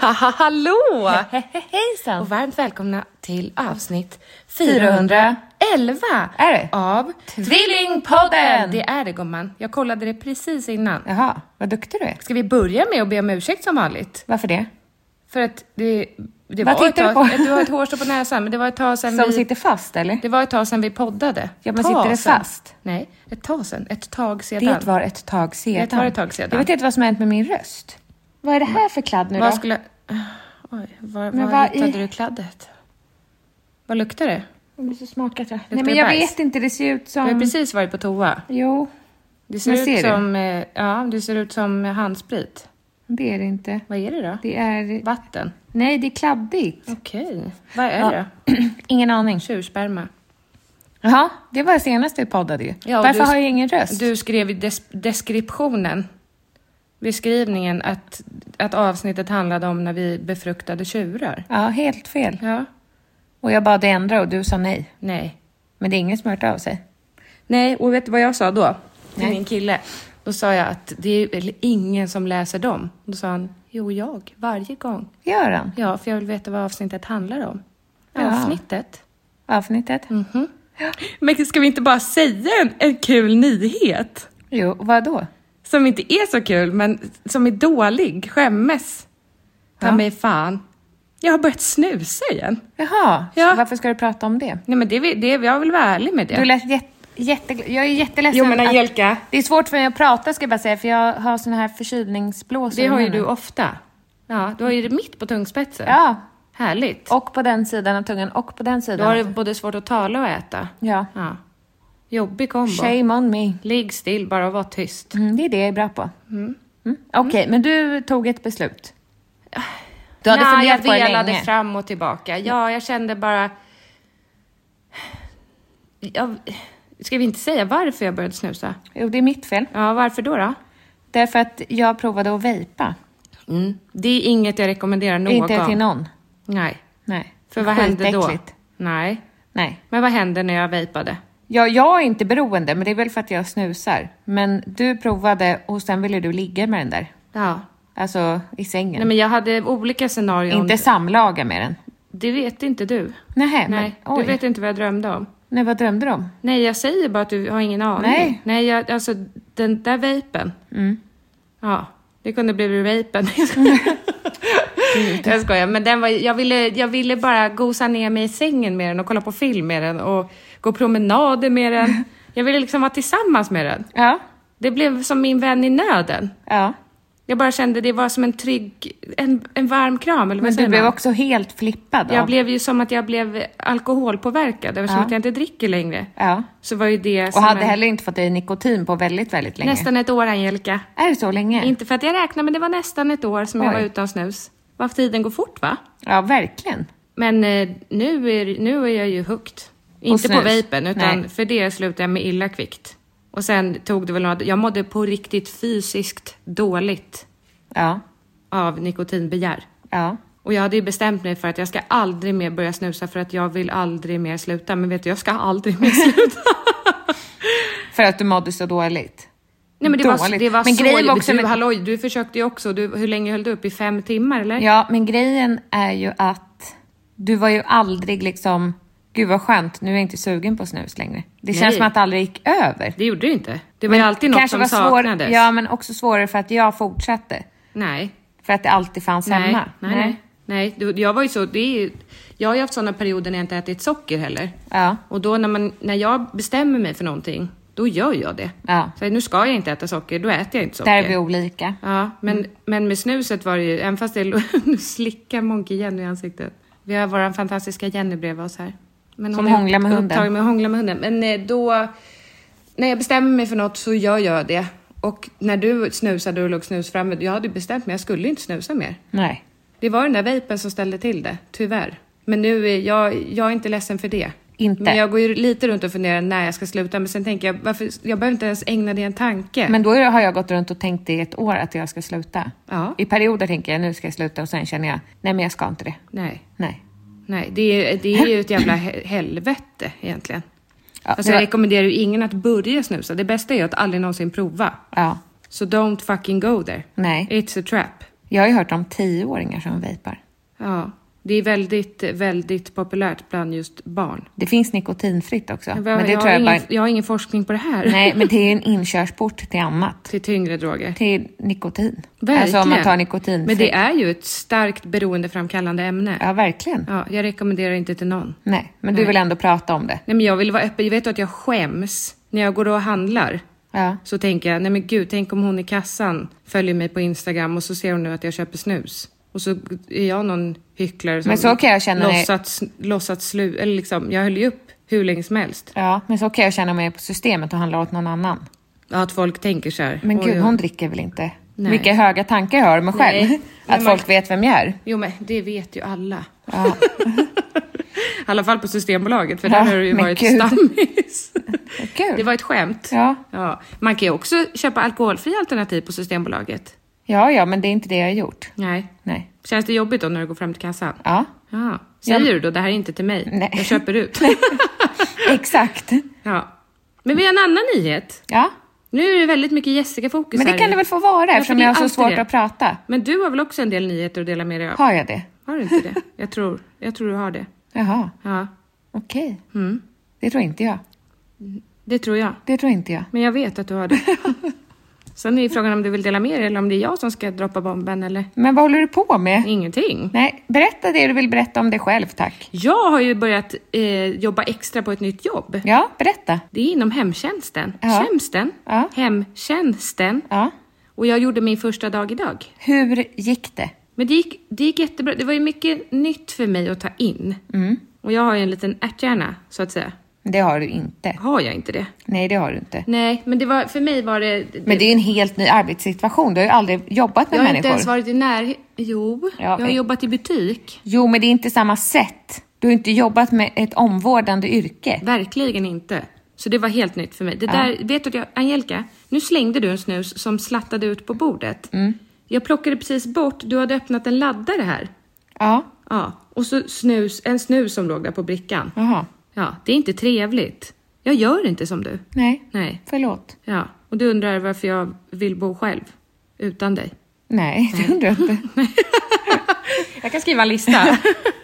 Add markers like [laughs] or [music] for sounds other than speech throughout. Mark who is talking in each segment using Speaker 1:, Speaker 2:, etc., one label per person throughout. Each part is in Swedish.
Speaker 1: Haha, hallå!
Speaker 2: Hejsan!
Speaker 1: Och varmt välkomna till avsnitt
Speaker 2: 411.
Speaker 1: 411
Speaker 2: Är det?
Speaker 1: av
Speaker 2: Tvillingpodden!
Speaker 1: Det är det gumman. Jag kollade det precis innan.
Speaker 2: Jaha, vad duktig du är.
Speaker 1: Ska vi börja med att be om ursäkt som vanligt?
Speaker 2: Varför det?
Speaker 1: För att det, det
Speaker 2: Vad
Speaker 1: var ett
Speaker 2: tittar du
Speaker 1: tag,
Speaker 2: på?
Speaker 1: du har ett hårstrå på näsan, men det var ett tag sedan
Speaker 2: Som
Speaker 1: vi...
Speaker 2: sitter fast eller?
Speaker 1: Det var ett tag sedan vi poddade.
Speaker 2: Ja, men
Speaker 1: Tag
Speaker 2: sitter det
Speaker 1: sedan.
Speaker 2: fast?
Speaker 1: Nej, ett tag sedan. Ett tag sedan.
Speaker 2: Det var ett tag sedan.
Speaker 1: Det var ett tag sedan.
Speaker 2: Jag vet inte vad som har hänt med min röst. Vad är det här för kladd nu då?
Speaker 1: Vad skulle... Oj, var,
Speaker 2: Men
Speaker 1: var
Speaker 2: vad
Speaker 1: hittade
Speaker 2: i-
Speaker 1: du kladdet? Vad luktar det?
Speaker 2: Jag blir så smakat jag. Nej
Speaker 1: Luktar
Speaker 2: men
Speaker 1: det
Speaker 2: jag
Speaker 1: bajs?
Speaker 2: vet inte, det ser ut
Speaker 1: Du har
Speaker 2: som...
Speaker 1: precis varit på toa.
Speaker 2: Jo,
Speaker 1: Det ser,
Speaker 2: Men Um, ser
Speaker 1: ut
Speaker 2: du?
Speaker 1: som, eh, ja, det ser ut som handsprit.
Speaker 2: det är det inte.
Speaker 1: Vad är det då?
Speaker 2: Det är...
Speaker 1: Vatten?
Speaker 2: Nej, det är kladdigt.
Speaker 1: Okej. Vad är
Speaker 2: Ja.
Speaker 1: det?
Speaker 2: [clears throat] Ingen aning.
Speaker 1: Tjursperma.
Speaker 2: Jaha, det var senast vi poddade ju.
Speaker 1: Ja, och
Speaker 2: Varför
Speaker 1: du-
Speaker 2: har jag ingen röst?
Speaker 1: Du skrev i des- deskriptionen, beskrivningen, att, att avsnittet handlade om när vi befruktade tjurar.
Speaker 2: Ja, helt fel.
Speaker 1: Ja.
Speaker 2: Och jag bad dig ändra och du sa nej.
Speaker 1: Nej.
Speaker 2: Men det är ingen som har hört av sig.
Speaker 1: Nej, och vet du vad jag sa då? Till
Speaker 2: Nej.
Speaker 1: min kille. Då sa jag att det är väl ingen som läser dem. Då sa han, jo jag, varje gång.
Speaker 2: Göran,
Speaker 1: Ja, för jag vill veta vad avsnittet handlar om.
Speaker 2: Ja.
Speaker 1: Avsnittet.
Speaker 2: avsnittet?
Speaker 1: Mm. Men ska vi inte bara säga en, en kul nyhet?
Speaker 2: Jo, vadå?
Speaker 1: Som inte är så kul, men som är dålig. Skämmes. Ta
Speaker 2: Ja.
Speaker 1: mig fan. Jag har börjat snusa igen.
Speaker 2: Jaha,
Speaker 1: Ja.
Speaker 2: så varför ska du prata om det?
Speaker 1: Nej men det, är vi- det, är- jag vill vara ärlig med det.
Speaker 2: Du lät jätte, jätte, jag är jätteledsen.
Speaker 1: Jo, men
Speaker 2: att-
Speaker 1: Angelica.
Speaker 2: Det är svårt för mig att prata ska jag bara säga, för jag har såna här förkylningsblåsor.
Speaker 1: det
Speaker 2: i
Speaker 1: har ju du
Speaker 2: munnen.
Speaker 1: ofta. Ja, du har ju det mitt på tungspetsen.
Speaker 2: Ja,
Speaker 1: Härligt.
Speaker 2: och på den sidan av tungan och på den
Speaker 1: Då
Speaker 2: sidan.
Speaker 1: har du
Speaker 2: av-
Speaker 1: både svårt att tala och äta.
Speaker 2: Ja.
Speaker 1: ja. Jobbig kombo.
Speaker 2: Shame on me.
Speaker 1: Ligg still bara och var tyst.
Speaker 2: Mm, det är det jag är bra på. Mm. Okej, men du tog ett beslut. Du hade
Speaker 1: Nej,
Speaker 2: funderat på
Speaker 1: jag
Speaker 2: det
Speaker 1: delade
Speaker 2: länge.
Speaker 1: fram och tillbaka. Ja, jag kände bara... Jag... Ska vi inte säga varför jag började snusa?
Speaker 2: Jo, det är mitt fel.
Speaker 1: Ja, varför då? då?
Speaker 2: Därför att jag provade att vejpa.
Speaker 1: Det är inget jag rekommenderar någon.
Speaker 2: Mm. Inte till någon.
Speaker 1: Nej,
Speaker 2: Nej.
Speaker 1: för vad hände då?
Speaker 2: Skitäckligt.
Speaker 1: Nej,
Speaker 2: Nej.
Speaker 1: men vad hände när jag vejpade?
Speaker 2: Ja, jag är inte beroende, men det är väl för att jag snusar. Men du provade och sen ville du ligga med den där.
Speaker 1: Ja.
Speaker 2: Alltså i sängen.
Speaker 1: Nej, men jag hade olika scenarion.
Speaker 2: Inte samlaga med den.
Speaker 1: Det vet inte du.
Speaker 2: Nej, men
Speaker 1: Nej,
Speaker 2: oj.
Speaker 1: du vet inte vad jag drömde om.
Speaker 2: Nej, vad drömde du om?
Speaker 1: Nej, jag säger bara att du har ingen aning.
Speaker 2: Nej. Mm.
Speaker 1: Nej, jag, alltså den där vapen. Ja, det kunde bli
Speaker 2: [laughs]
Speaker 1: vapen. [laughs] jag skojar, men den var, jag, ville, jag ville bara gosa ner mig i sängen med den och kolla på film med den och gå promenader med
Speaker 2: [laughs]
Speaker 1: den. Jag ville liksom vara tillsammans med den.
Speaker 2: Ja,
Speaker 1: Det blev som min vän i nöden.
Speaker 2: ja.
Speaker 1: Jag bara kände det var som en trygg, en, en varm kram eller vad
Speaker 2: Men
Speaker 1: säger
Speaker 2: du blev
Speaker 1: man?
Speaker 2: också helt flippad
Speaker 1: Jag
Speaker 2: av-
Speaker 1: blev ju som att jag blev alkoholpåverkad eftersom
Speaker 2: Ja.
Speaker 1: att jag inte dricker längre.
Speaker 2: Ja.
Speaker 1: Så var ju det
Speaker 2: Och
Speaker 1: som
Speaker 2: hade
Speaker 1: en-
Speaker 2: heller inte fått i nikotin på väldigt, väldigt länge.
Speaker 1: Nästan ett år, Angelica.
Speaker 2: Är det så länge?
Speaker 1: Inte för att jag räknar, men det var nästan ett år som jag
Speaker 2: Oj.
Speaker 1: var utan snus. Vad tiden går fort, va?
Speaker 2: Ja, verkligen.
Speaker 1: Men eh, nu, är, nu är jag ju högt. Inte på
Speaker 2: snus?
Speaker 1: vapen, utan
Speaker 2: Nej.
Speaker 1: för det slutade jag med illa kvickt. Och sen tog det väl några... Jag mådde på riktigt fysiskt dåligt
Speaker 2: Ja,
Speaker 1: av nikotinbegär.
Speaker 2: ja.
Speaker 1: Och jag hade ju bestämt mig för att jag ska aldrig mer börja snusa för att jag vill aldrig mer
Speaker 2: [laughs]
Speaker 1: sluta. Men vet du, jag ska aldrig mer sluta.
Speaker 2: För att du mådde så dåligt.
Speaker 1: Nej, men det var,
Speaker 2: Dåligt.
Speaker 1: det var
Speaker 2: Men
Speaker 1: så
Speaker 2: grejen var
Speaker 1: jobbigt.
Speaker 2: också
Speaker 1: du,
Speaker 2: med-
Speaker 1: halloj, du försökte ju också. Du, hur länge höll du upp? I fem timmar eller?
Speaker 2: Ja, men grejen är ju att du var ju aldrig liksom, gud vad skönt, nu är jag inte sugen på snus längre. Det
Speaker 1: Nej.
Speaker 2: känns som att det aldrig gick över.
Speaker 1: Det gjorde du inte. Det var ju alltid något
Speaker 2: Kanske
Speaker 1: som
Speaker 2: var svår-
Speaker 1: saknades.
Speaker 2: Ja, men också svårare för att jag fortsatte.
Speaker 1: Nej.
Speaker 2: För att det alltid fanns
Speaker 1: Nej,
Speaker 2: hemma.
Speaker 1: nej, nej. nej. Du- Jag var ju så, det är ju, jag har ju haft sådana perioder när jag inte ätit socker heller.
Speaker 2: Ja.
Speaker 1: Och då när, man, när jag bestämmer mig för någonting, då gör jag det.
Speaker 2: Ja.
Speaker 1: Så nu ska jag inte äta socker, då äter jag inte socker.
Speaker 2: Där är vi olika.
Speaker 1: Ja, men,
Speaker 2: Mm.
Speaker 1: men med snuset var det ju, även fast det lo- [laughs] Nu slickar Monke Jenny i ansiktet. Vi har vår fantastiska Jenny bredvid oss här. Men
Speaker 2: Som
Speaker 1: är
Speaker 2: hånglar med hunden.
Speaker 1: upptagen med att hångla med hunden. Men eh, då, när jag bestämmer mig för något så gör jag det. Och när du snusade och låg snus framme, jag hade ju bestämt mig, jag skulle inte snusa mer.
Speaker 2: Nej.
Speaker 1: Det var den där vapen som ställde till det, tyvärr. Men nu är jag, jag är inte ledsen för det.
Speaker 2: Inte.
Speaker 1: Men jag går ju lite runt och funderar när jag ska sluta, men sen tänker jag, varför, jag behöver inte ens ägna det en tanke.
Speaker 2: Men då har jag gått runt och tänkt i ett år att jag ska sluta.
Speaker 1: Ja.
Speaker 2: I perioder tänker jag nu ska jag sluta och sen känner jag, nej men jag ska inte det.
Speaker 1: Nej,
Speaker 2: Nej.
Speaker 1: nej, det är, det är ju ett jävla he- helvete egentligen.
Speaker 2: Ja,
Speaker 1: alltså
Speaker 2: det
Speaker 1: jag
Speaker 2: var-
Speaker 1: rekommenderar ju ingen att börja snusa. Det bästa är ju att aldrig någonsin prova.
Speaker 2: Ja.
Speaker 1: Så don't fucking go there.
Speaker 2: Nej.
Speaker 1: It's a trap.
Speaker 2: Jag har ju hört om tioåringar som vejpar.
Speaker 1: Ja, det är väldigt, väldigt populärt bland just barn.
Speaker 2: Det finns nikotinfritt också.
Speaker 1: Jag,
Speaker 2: Men det
Speaker 1: jag,
Speaker 2: tror
Speaker 1: har
Speaker 2: jag
Speaker 1: ingen,
Speaker 2: bara...
Speaker 1: jag har ingen forskning på det här.
Speaker 2: Nej, men det är ju en inkörsport till annat.
Speaker 1: Till tyngre droger.
Speaker 2: Till nikotin.
Speaker 1: Verkligen.
Speaker 2: Alltså om man tar nikotin.
Speaker 1: Men det är ju ett starkt beroendeframkallande ämne. Ja.
Speaker 2: Ja, verkligen.
Speaker 1: jag rekommenderar inte till någon.
Speaker 2: Nej, men du vill ändå prata om det.
Speaker 1: Nej, men jag vill vara öppen. Jag vet att jag skäms när jag går och handlar.
Speaker 2: Ja.
Speaker 1: Så tänker jag, nej men gud, tänk om hon i kassan följer mig på Instagram och så ser hon nu att jag köper snus. Och så är jag någon hycklare som
Speaker 2: Men så kan jag känna när-
Speaker 1: låtsats, låtsats slu... Eller liksom, jag höll ju upp hur länge som helst.
Speaker 2: Ja, men så kan jag känna mig på systemet och handlar åt någon annan.
Speaker 1: Ja, att folk tänker så här.
Speaker 2: Men
Speaker 1: oj,
Speaker 2: gud,
Speaker 1: oj.
Speaker 2: hon dricker väl inte?
Speaker 1: Nej.
Speaker 2: Vilka höga tankar jag har om mig själv.
Speaker 1: Nej.
Speaker 2: [laughs] Att
Speaker 1: Men man-
Speaker 2: folk vet vem jag är.
Speaker 1: Jo men det vet ju alla. [laughs] I alla fall på Systembolaget, för där
Speaker 2: Ja,
Speaker 1: har det ju
Speaker 2: men
Speaker 1: varit
Speaker 2: gud. [laughs]
Speaker 1: stammis.
Speaker 2: Kul.
Speaker 1: Det var ett skämt.
Speaker 2: Ja.
Speaker 1: Ja. Man kan ju också köpa alkoholfria alternativ på Systembolaget.
Speaker 2: Ja, ja, men det är inte det jag har gjort.
Speaker 1: Nej.
Speaker 2: Nej.
Speaker 1: Känns det jobbigt då när du går fram till kassan?
Speaker 2: Ja,
Speaker 1: Ja. Säger
Speaker 2: Ja.
Speaker 1: du då, det här är inte till mig,
Speaker 2: [laughs] Nej.
Speaker 1: jag köper ut?
Speaker 2: exakt.
Speaker 1: [laughs] ja. Men vi har en annan nyhet.
Speaker 2: Ja,
Speaker 1: Nu är det väldigt mycket Jessica-fokus
Speaker 2: men det
Speaker 1: här
Speaker 2: kan
Speaker 1: nu.
Speaker 2: det väl få vara
Speaker 1: för
Speaker 2: eftersom
Speaker 1: det är
Speaker 2: jag har så
Speaker 1: alltid
Speaker 2: svårt
Speaker 1: det.
Speaker 2: att prata.
Speaker 1: Men du har väl också en del nyheter att dela med dig av?
Speaker 2: Har jag det?
Speaker 1: Har du inte det? Jag tror, jag tror du har det.
Speaker 2: Jaha,
Speaker 1: Ja,
Speaker 2: okej.
Speaker 1: Mm.
Speaker 2: Det tror inte jag.
Speaker 1: det tror jag.
Speaker 2: Det tror inte jag.
Speaker 1: Men jag vet att du har
Speaker 2: [laughs]
Speaker 1: det. Sen är ju frågan om du vill dela med dig eller om det är jag som ska droppa bomben eller
Speaker 2: Men vad håller du på med?
Speaker 1: ingenting.
Speaker 2: Nej, berätta det du vill berätta om dig själv, tack.
Speaker 1: Jag har ju börjat eh, jobba extra på ett nytt jobb.
Speaker 2: Ja, berätta.
Speaker 1: Det är inom hemtjänsten.
Speaker 2: Ja.
Speaker 1: Tjänsten.
Speaker 2: Ja.
Speaker 1: Hemtjänsten.
Speaker 2: Ja.
Speaker 1: Och jag gjorde min första dag idag.
Speaker 2: Hur gick det?
Speaker 1: Men det gick, det gick jättebra. Det var ju mycket nytt för mig att ta in.
Speaker 2: Mm.
Speaker 1: Och jag har ju en liten ärthjärna, så att säga.
Speaker 2: Det har du inte.
Speaker 1: Har jag inte det?
Speaker 2: Nej, det har du inte.
Speaker 1: Nej, men det var, för mig var det...
Speaker 2: Men det är ju en helt ny arbetssituation. Du har ju aldrig jobbat med
Speaker 1: jag har inte
Speaker 2: människor.
Speaker 1: ens varit i närheten. Jo, jag har
Speaker 2: men-
Speaker 1: jobbat i butik.
Speaker 2: Jo, men det är inte samma sätt. Du har inte jobbat med ett omvårdande yrke.
Speaker 1: Verkligen inte. Så det var helt nytt för mig. Det där, vet du, att jag, Angelica, nu slängde du en snus som slattade ut på bordet.
Speaker 2: Mm.
Speaker 1: Jag plockade precis bort, du hade öppnat en laddare här.
Speaker 2: Ja,
Speaker 1: Ja, och så snus, en snus som låg där på brickan.
Speaker 2: jaha.
Speaker 1: Ja, det är inte trevligt. Jag gör inte som du.
Speaker 2: Nej.
Speaker 1: Nej.
Speaker 2: Förlåt.
Speaker 1: Ja, och du undrar varför jag vill bo själv utan dig.
Speaker 2: Nej, [laughs] det undrar jag inte.
Speaker 1: Jag kan skriva en lista.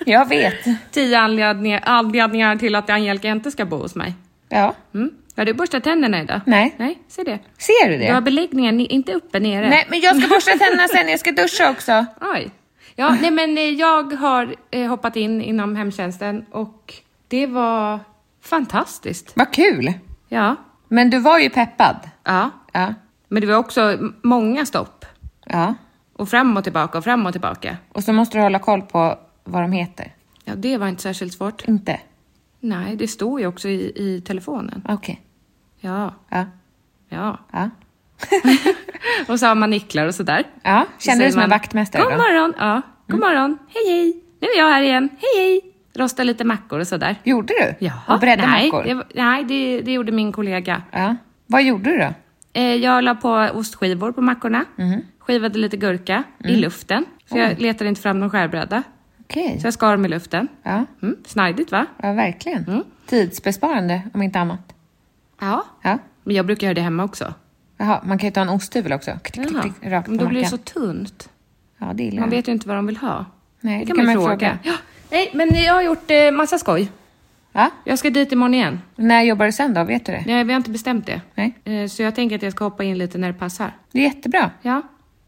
Speaker 2: Jag vet.
Speaker 1: [laughs] Tio anledningar, anledningar till att Angelica inte ska bo hos mig.
Speaker 2: Ja.
Speaker 1: Mm. Har du borstat tänderna idag?
Speaker 2: Nej.
Speaker 1: Nej, se det.
Speaker 2: Ser du
Speaker 1: Du har
Speaker 2: det?
Speaker 1: beläggningen, ni- inte uppe, nere.
Speaker 2: Nej, men jag ska borsta tänderna sen. Jag ska duscha också.
Speaker 1: Oj. Ja, nej men eh, jag har eh, hoppat in inom hemtjänsten och det var fantastiskt.
Speaker 2: Vad kul.
Speaker 1: Ja.
Speaker 2: Men du var ju peppad.
Speaker 1: Ja.
Speaker 2: Ja.
Speaker 1: Men det var också m- många stopp.
Speaker 2: Ja.
Speaker 1: Och fram och tillbaka och fram och tillbaka.
Speaker 2: Och så måste du hålla koll på vad de heter.
Speaker 1: Ja, det var inte särskilt svårt.
Speaker 2: Inte?
Speaker 1: Nej, det står ju också i, i telefonen.
Speaker 2: Okej.
Speaker 1: Ja,
Speaker 2: Ja.
Speaker 1: ja. [laughs]
Speaker 2: Ja. [laughs]
Speaker 1: och så har man nycklar och sådär.
Speaker 2: Ja,
Speaker 1: Så säger
Speaker 2: kände du dig som en
Speaker 1: man,
Speaker 2: vaktmästare
Speaker 1: God
Speaker 2: då?" Mm.
Speaker 1: morgon, ja. God morgon, hej hej. Nu är jag här igen, hej hej. Rosta lite mackor och sådär.
Speaker 2: Gjorde du?
Speaker 1: Jaha.
Speaker 2: Och bredda
Speaker 1: nej,
Speaker 2: mackor?
Speaker 1: Det, var- nej, det, det gjorde min kollega.
Speaker 2: Ja. Vad gjorde du då?
Speaker 1: Eh, jag la på ostskivor på mackorna.
Speaker 2: Mhm.
Speaker 1: Skivade lite gurka
Speaker 2: Mm.
Speaker 1: i luften. Så jag letade inte fram någon skärbräda.
Speaker 2: Okej.
Speaker 1: Så jag skar dem i luften.
Speaker 2: Ja.
Speaker 1: Mm, snajdigt va?
Speaker 2: ja, verkligen.
Speaker 1: Mm.
Speaker 2: Tidsbesparande om inte annat.
Speaker 1: Ja.
Speaker 2: Ja.
Speaker 1: Men jag brukar göra det hemma också.
Speaker 2: Jaha, man kan ju ta en osthyvel också. Klick, klick, klick, rakt på
Speaker 1: men då blir det
Speaker 2: mackan.
Speaker 1: så tunt.
Speaker 2: Ja, det gillar
Speaker 1: Man
Speaker 2: jag.
Speaker 1: vet ju inte vad de vill ha.
Speaker 2: Nej, det kan man ju fråga.
Speaker 1: Ja. Nej, men jag har gjort eh, massa skoj.
Speaker 2: Va?
Speaker 1: Jag ska dit imorgon igen.
Speaker 2: När jobbar du sen då? Vet du det?
Speaker 1: Nej, vi har inte bestämt det.
Speaker 2: Nej.
Speaker 1: Eh, Så jag tänker att jag ska hoppa in lite när det passar.
Speaker 2: Det är jättebra.
Speaker 1: Ja.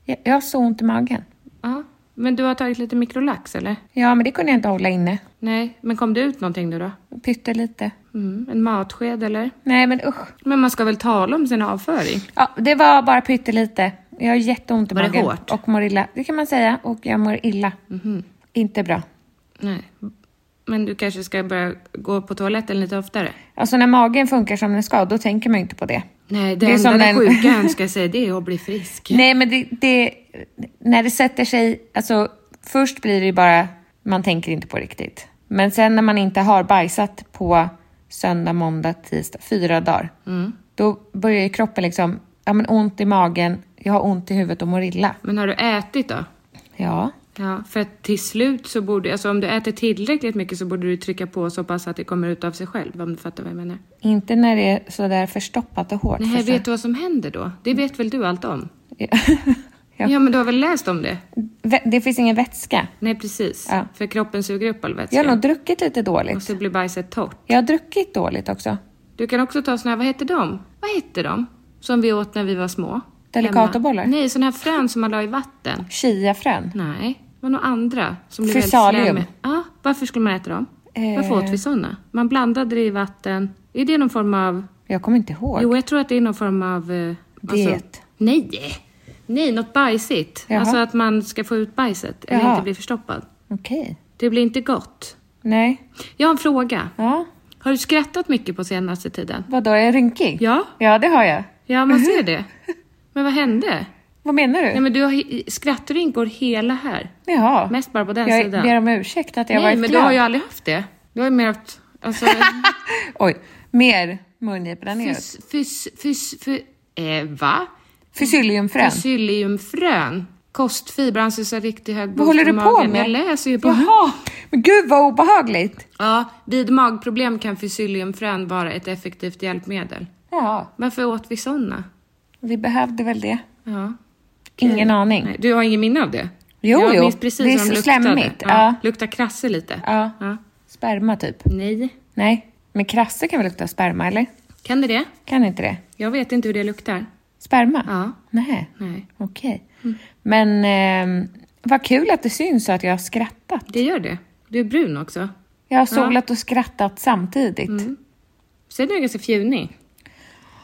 Speaker 2: Jag, jag har så ont i magen.
Speaker 1: ja. Men du har tagit lite mikrolax eller?
Speaker 2: Ja, men det kunde jag inte hålla inne.
Speaker 1: Nej, men kom det ut någonting nu då?
Speaker 2: Pyttelite.
Speaker 1: Mm, en matsked eller?
Speaker 2: Nej, men usch.
Speaker 1: Men man ska väl tala om sin avföring?
Speaker 2: Ja, det var bara pyttelite. Jag har jätteont i
Speaker 1: Var det
Speaker 2: magen.
Speaker 1: hårt? Mhm.
Speaker 2: Och mår illa. Det kan man säga. Och jag mår illa. Inte bra.
Speaker 1: Nej. Men du kanske ska börja gå på toaletten lite oftare?
Speaker 2: Alltså när magen funkar som den ska, då tänker man ju inte på det.
Speaker 1: Nej, det,
Speaker 2: är
Speaker 1: enda
Speaker 2: som
Speaker 1: den
Speaker 2: den-
Speaker 1: sjuka önskar sig det är att bli
Speaker 2: [laughs]
Speaker 1: frisk.
Speaker 2: Nej, men det, det... När det sätter sig... Alltså, först blir det ju bara... Man tänker inte på riktigt. Men sen när man inte har bajsat på söndag, måndag, tisdag, fyra dagar.
Speaker 1: Mm.
Speaker 2: Då börjar ju kroppen liksom... Ja, men ont i magen, jag har ont i huvudet och mår illa.
Speaker 1: Men har du ätit då?
Speaker 2: Ja.
Speaker 1: Ja, för att till slut så borde, alltså om du äter tillräckligt mycket så borde du trycka på så pass att det kommer ut av sig själv, om du fattar vad jag menar.
Speaker 2: Inte när det är sådär förstoppat och hårt.
Speaker 1: Nej,
Speaker 2: förstå.
Speaker 1: vet du vad som händer då? Det vet väl du allt om?
Speaker 2: Ja.
Speaker 1: Ja, men du har väl läst om det?
Speaker 2: Vä- Det finns ingen vätska.
Speaker 1: Nej, precis.
Speaker 2: Ja.
Speaker 1: För kroppen suger upp all
Speaker 2: Jag har
Speaker 1: vätska.
Speaker 2: nog druckit lite
Speaker 1: Och
Speaker 2: dåligt.
Speaker 1: så blir bajset torrt.
Speaker 2: Jag har druckit dåligt också.
Speaker 1: Du kan också ta såna här, vad heter de? Vad heter de? Som vi åt när vi var små.
Speaker 2: Delicatobollar?
Speaker 1: Hemma. Nej, såna här frön som man la i vatten.
Speaker 2: Chiafrön.
Speaker 1: Nej, det var några andra. Som blev väldigt
Speaker 2: Physalia.
Speaker 1: slemmiga. Ja, varför skulle man äta dem? Varför
Speaker 2: Eh.
Speaker 1: åt vi såna? Man blandade det i vatten. Är det någon form av...
Speaker 2: Jag kommer inte ihåg.
Speaker 1: Jo, jag tror att det är någon form av... eh,
Speaker 2: Diet.
Speaker 1: nej! Nej, något bajsigt.
Speaker 2: Jaha.
Speaker 1: Alltså att man ska få ut bajset. Eller
Speaker 2: Jaha.
Speaker 1: inte bli förstoppad.
Speaker 2: Okej.
Speaker 1: Det blir inte gott.
Speaker 2: Nej.
Speaker 1: Jag har en fråga.
Speaker 2: Ja.
Speaker 1: Har du skrattat mycket på senaste tiden?
Speaker 2: Vadå, är jag rynkig?
Speaker 1: Ja.
Speaker 2: Ja, det har jag.
Speaker 1: Ja, man
Speaker 2: Mhm.
Speaker 1: ser det. Men vad hände?
Speaker 2: Vad menar du?
Speaker 1: Nej men du har hi- skrattrynkor hela här.
Speaker 2: Jaha.
Speaker 1: Mest bara på den
Speaker 2: jag
Speaker 1: sidan.
Speaker 2: ber om ursäkt att jag
Speaker 1: Nej
Speaker 2: varit
Speaker 1: men du
Speaker 2: glad.
Speaker 1: har ju aldrig haft det. Du har ju mer haft... Alltså...
Speaker 2: Oj, mer mungiporna neråt.
Speaker 1: fys... Fys... Fys... fy- eh, va?
Speaker 2: Fysilliumfrön.
Speaker 1: Psylliumfrön. Kostfiber anses ha riktigt hög
Speaker 2: Vad håller
Speaker 1: i
Speaker 2: du på
Speaker 1: magen.
Speaker 2: med?
Speaker 1: Jag läser ju på...
Speaker 2: Jaha. Men gud vad obehagligt.
Speaker 1: Ja, vid magproblem kan fysilliumfrön vara ett effektivt hjälpmedel.
Speaker 2: Ja,
Speaker 1: Varför åt vi såna?
Speaker 2: vi behövde väl det.
Speaker 1: Ja.
Speaker 2: Ingen aning.
Speaker 1: Nej, du har ingen minne av det?
Speaker 2: Jo,
Speaker 1: jag
Speaker 2: jo.
Speaker 1: minns precis
Speaker 2: Det är
Speaker 1: hur de
Speaker 2: så
Speaker 1: luktade.
Speaker 2: slemmigt,
Speaker 1: Ja.
Speaker 2: ja.
Speaker 1: Luktar krasse lite.
Speaker 2: Ja.
Speaker 1: ja.
Speaker 2: Sperma typ.
Speaker 1: Nej.
Speaker 2: Nej, men krasse kan väl lukta sperma eller?
Speaker 1: Kan det det?
Speaker 2: Kan inte det?
Speaker 1: Jag vet inte hur det luktar.
Speaker 2: Sperma?
Speaker 1: Ja.
Speaker 2: Nej.
Speaker 1: Nej. Mm.
Speaker 2: Okej. Men ehm, vad kul att det syns att jag har skrattat.
Speaker 1: Det gör det. Du är brun också.
Speaker 2: Jag har solat och skrattat samtidigt.
Speaker 1: Mm. Sen är du ganska fjunig.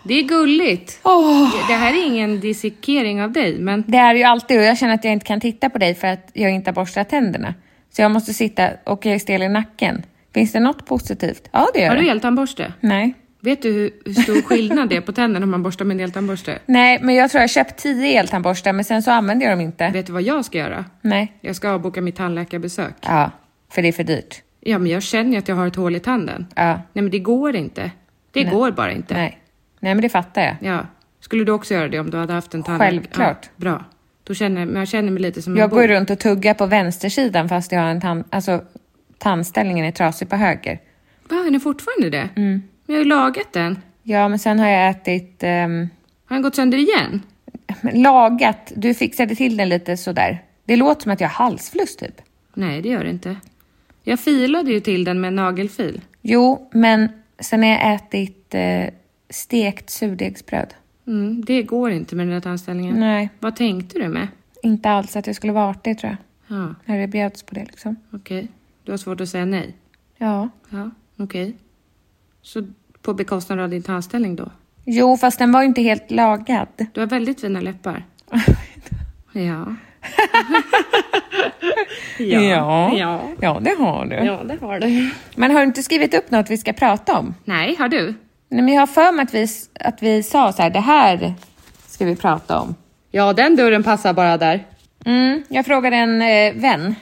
Speaker 1: Det är gulligt.
Speaker 2: Åh.
Speaker 1: Det- Det här är ingen dissekering av dig, men
Speaker 2: Det är ju alltid och jag känner att jag inte kan titta på dig för att jag inte har borstat tänderna. Så jag måste sitta och jag är stel i nacken. Finns det något positivt? Ja, det gör
Speaker 1: har du
Speaker 2: det.
Speaker 1: eltandborste?
Speaker 2: Nej.
Speaker 1: Vet du hur, hur stor skillnad det är på tänderna om man borstar med en eltandborste?
Speaker 2: Nej, men jag tror jag har köpt tio eltandborstar men sen så använder jag dem inte.
Speaker 1: Vet du vad jag ska göra?
Speaker 2: Nej.
Speaker 1: Jag ska avboka mitt tandläkarbesök.
Speaker 2: Ja, för det är för dyrt.
Speaker 1: Ja, men jag känner ju att jag har ett hål i tanden.
Speaker 2: Ja.
Speaker 1: Nej, men det går inte. Det går bara inte.
Speaker 2: Nej. Nej, men det fattar jag.
Speaker 1: Ja. Skulle du också göra det om du hade haft en tandläkare?
Speaker 2: Självklart.
Speaker 1: Ja, bra. Då känner, men jag känner mig lite som en
Speaker 2: Jag
Speaker 1: bov.
Speaker 2: går runt och tuggar på vänstersidan fast jag har en tand... Alltså, tandställningen är trasig på höger.
Speaker 1: Va, är ni fortfarande det? Mm. Men jag har ju lagat den.
Speaker 2: Ja, men sen har jag ätit... ehm, [laughs]
Speaker 1: Har den gått sönder igen?
Speaker 2: lagat. Du fixade till den lite sådär. Det låter som att jag har halsfluss typ.
Speaker 1: Nej, det gör det inte. Jag filade ju till den med en nagelfil.
Speaker 2: Jo, men sen har jag ätit eh, stekt surdegsbröd.
Speaker 1: Mm, det går inte med den där tandställningen.
Speaker 2: Nej,
Speaker 1: Vad tänkte du med?
Speaker 2: inte alls att jag skulle vara artig tror jag.
Speaker 1: Ja,
Speaker 2: När det bjöds på det liksom.
Speaker 1: okej. Du har svårt att säga nej.
Speaker 2: Ja.
Speaker 1: Ja, okej. Så på bekostnad av din tandställning då?
Speaker 2: Jo, fast den var ju inte helt lagad.
Speaker 1: Du har väldigt fina [laughs] läppar. Ja.
Speaker 2: Ja.
Speaker 1: Ja.
Speaker 2: Ja, det har du.
Speaker 1: Ja, det har du.
Speaker 2: Men har du inte skrivit upp något vi ska prata om?
Speaker 1: Nej, har du?
Speaker 2: Nej, men jag har för mig att vi, att vi sa så här, det här ska vi prata om.
Speaker 1: Ja, den dörren passar bara där.
Speaker 2: Mm, jag frågade en eh, vän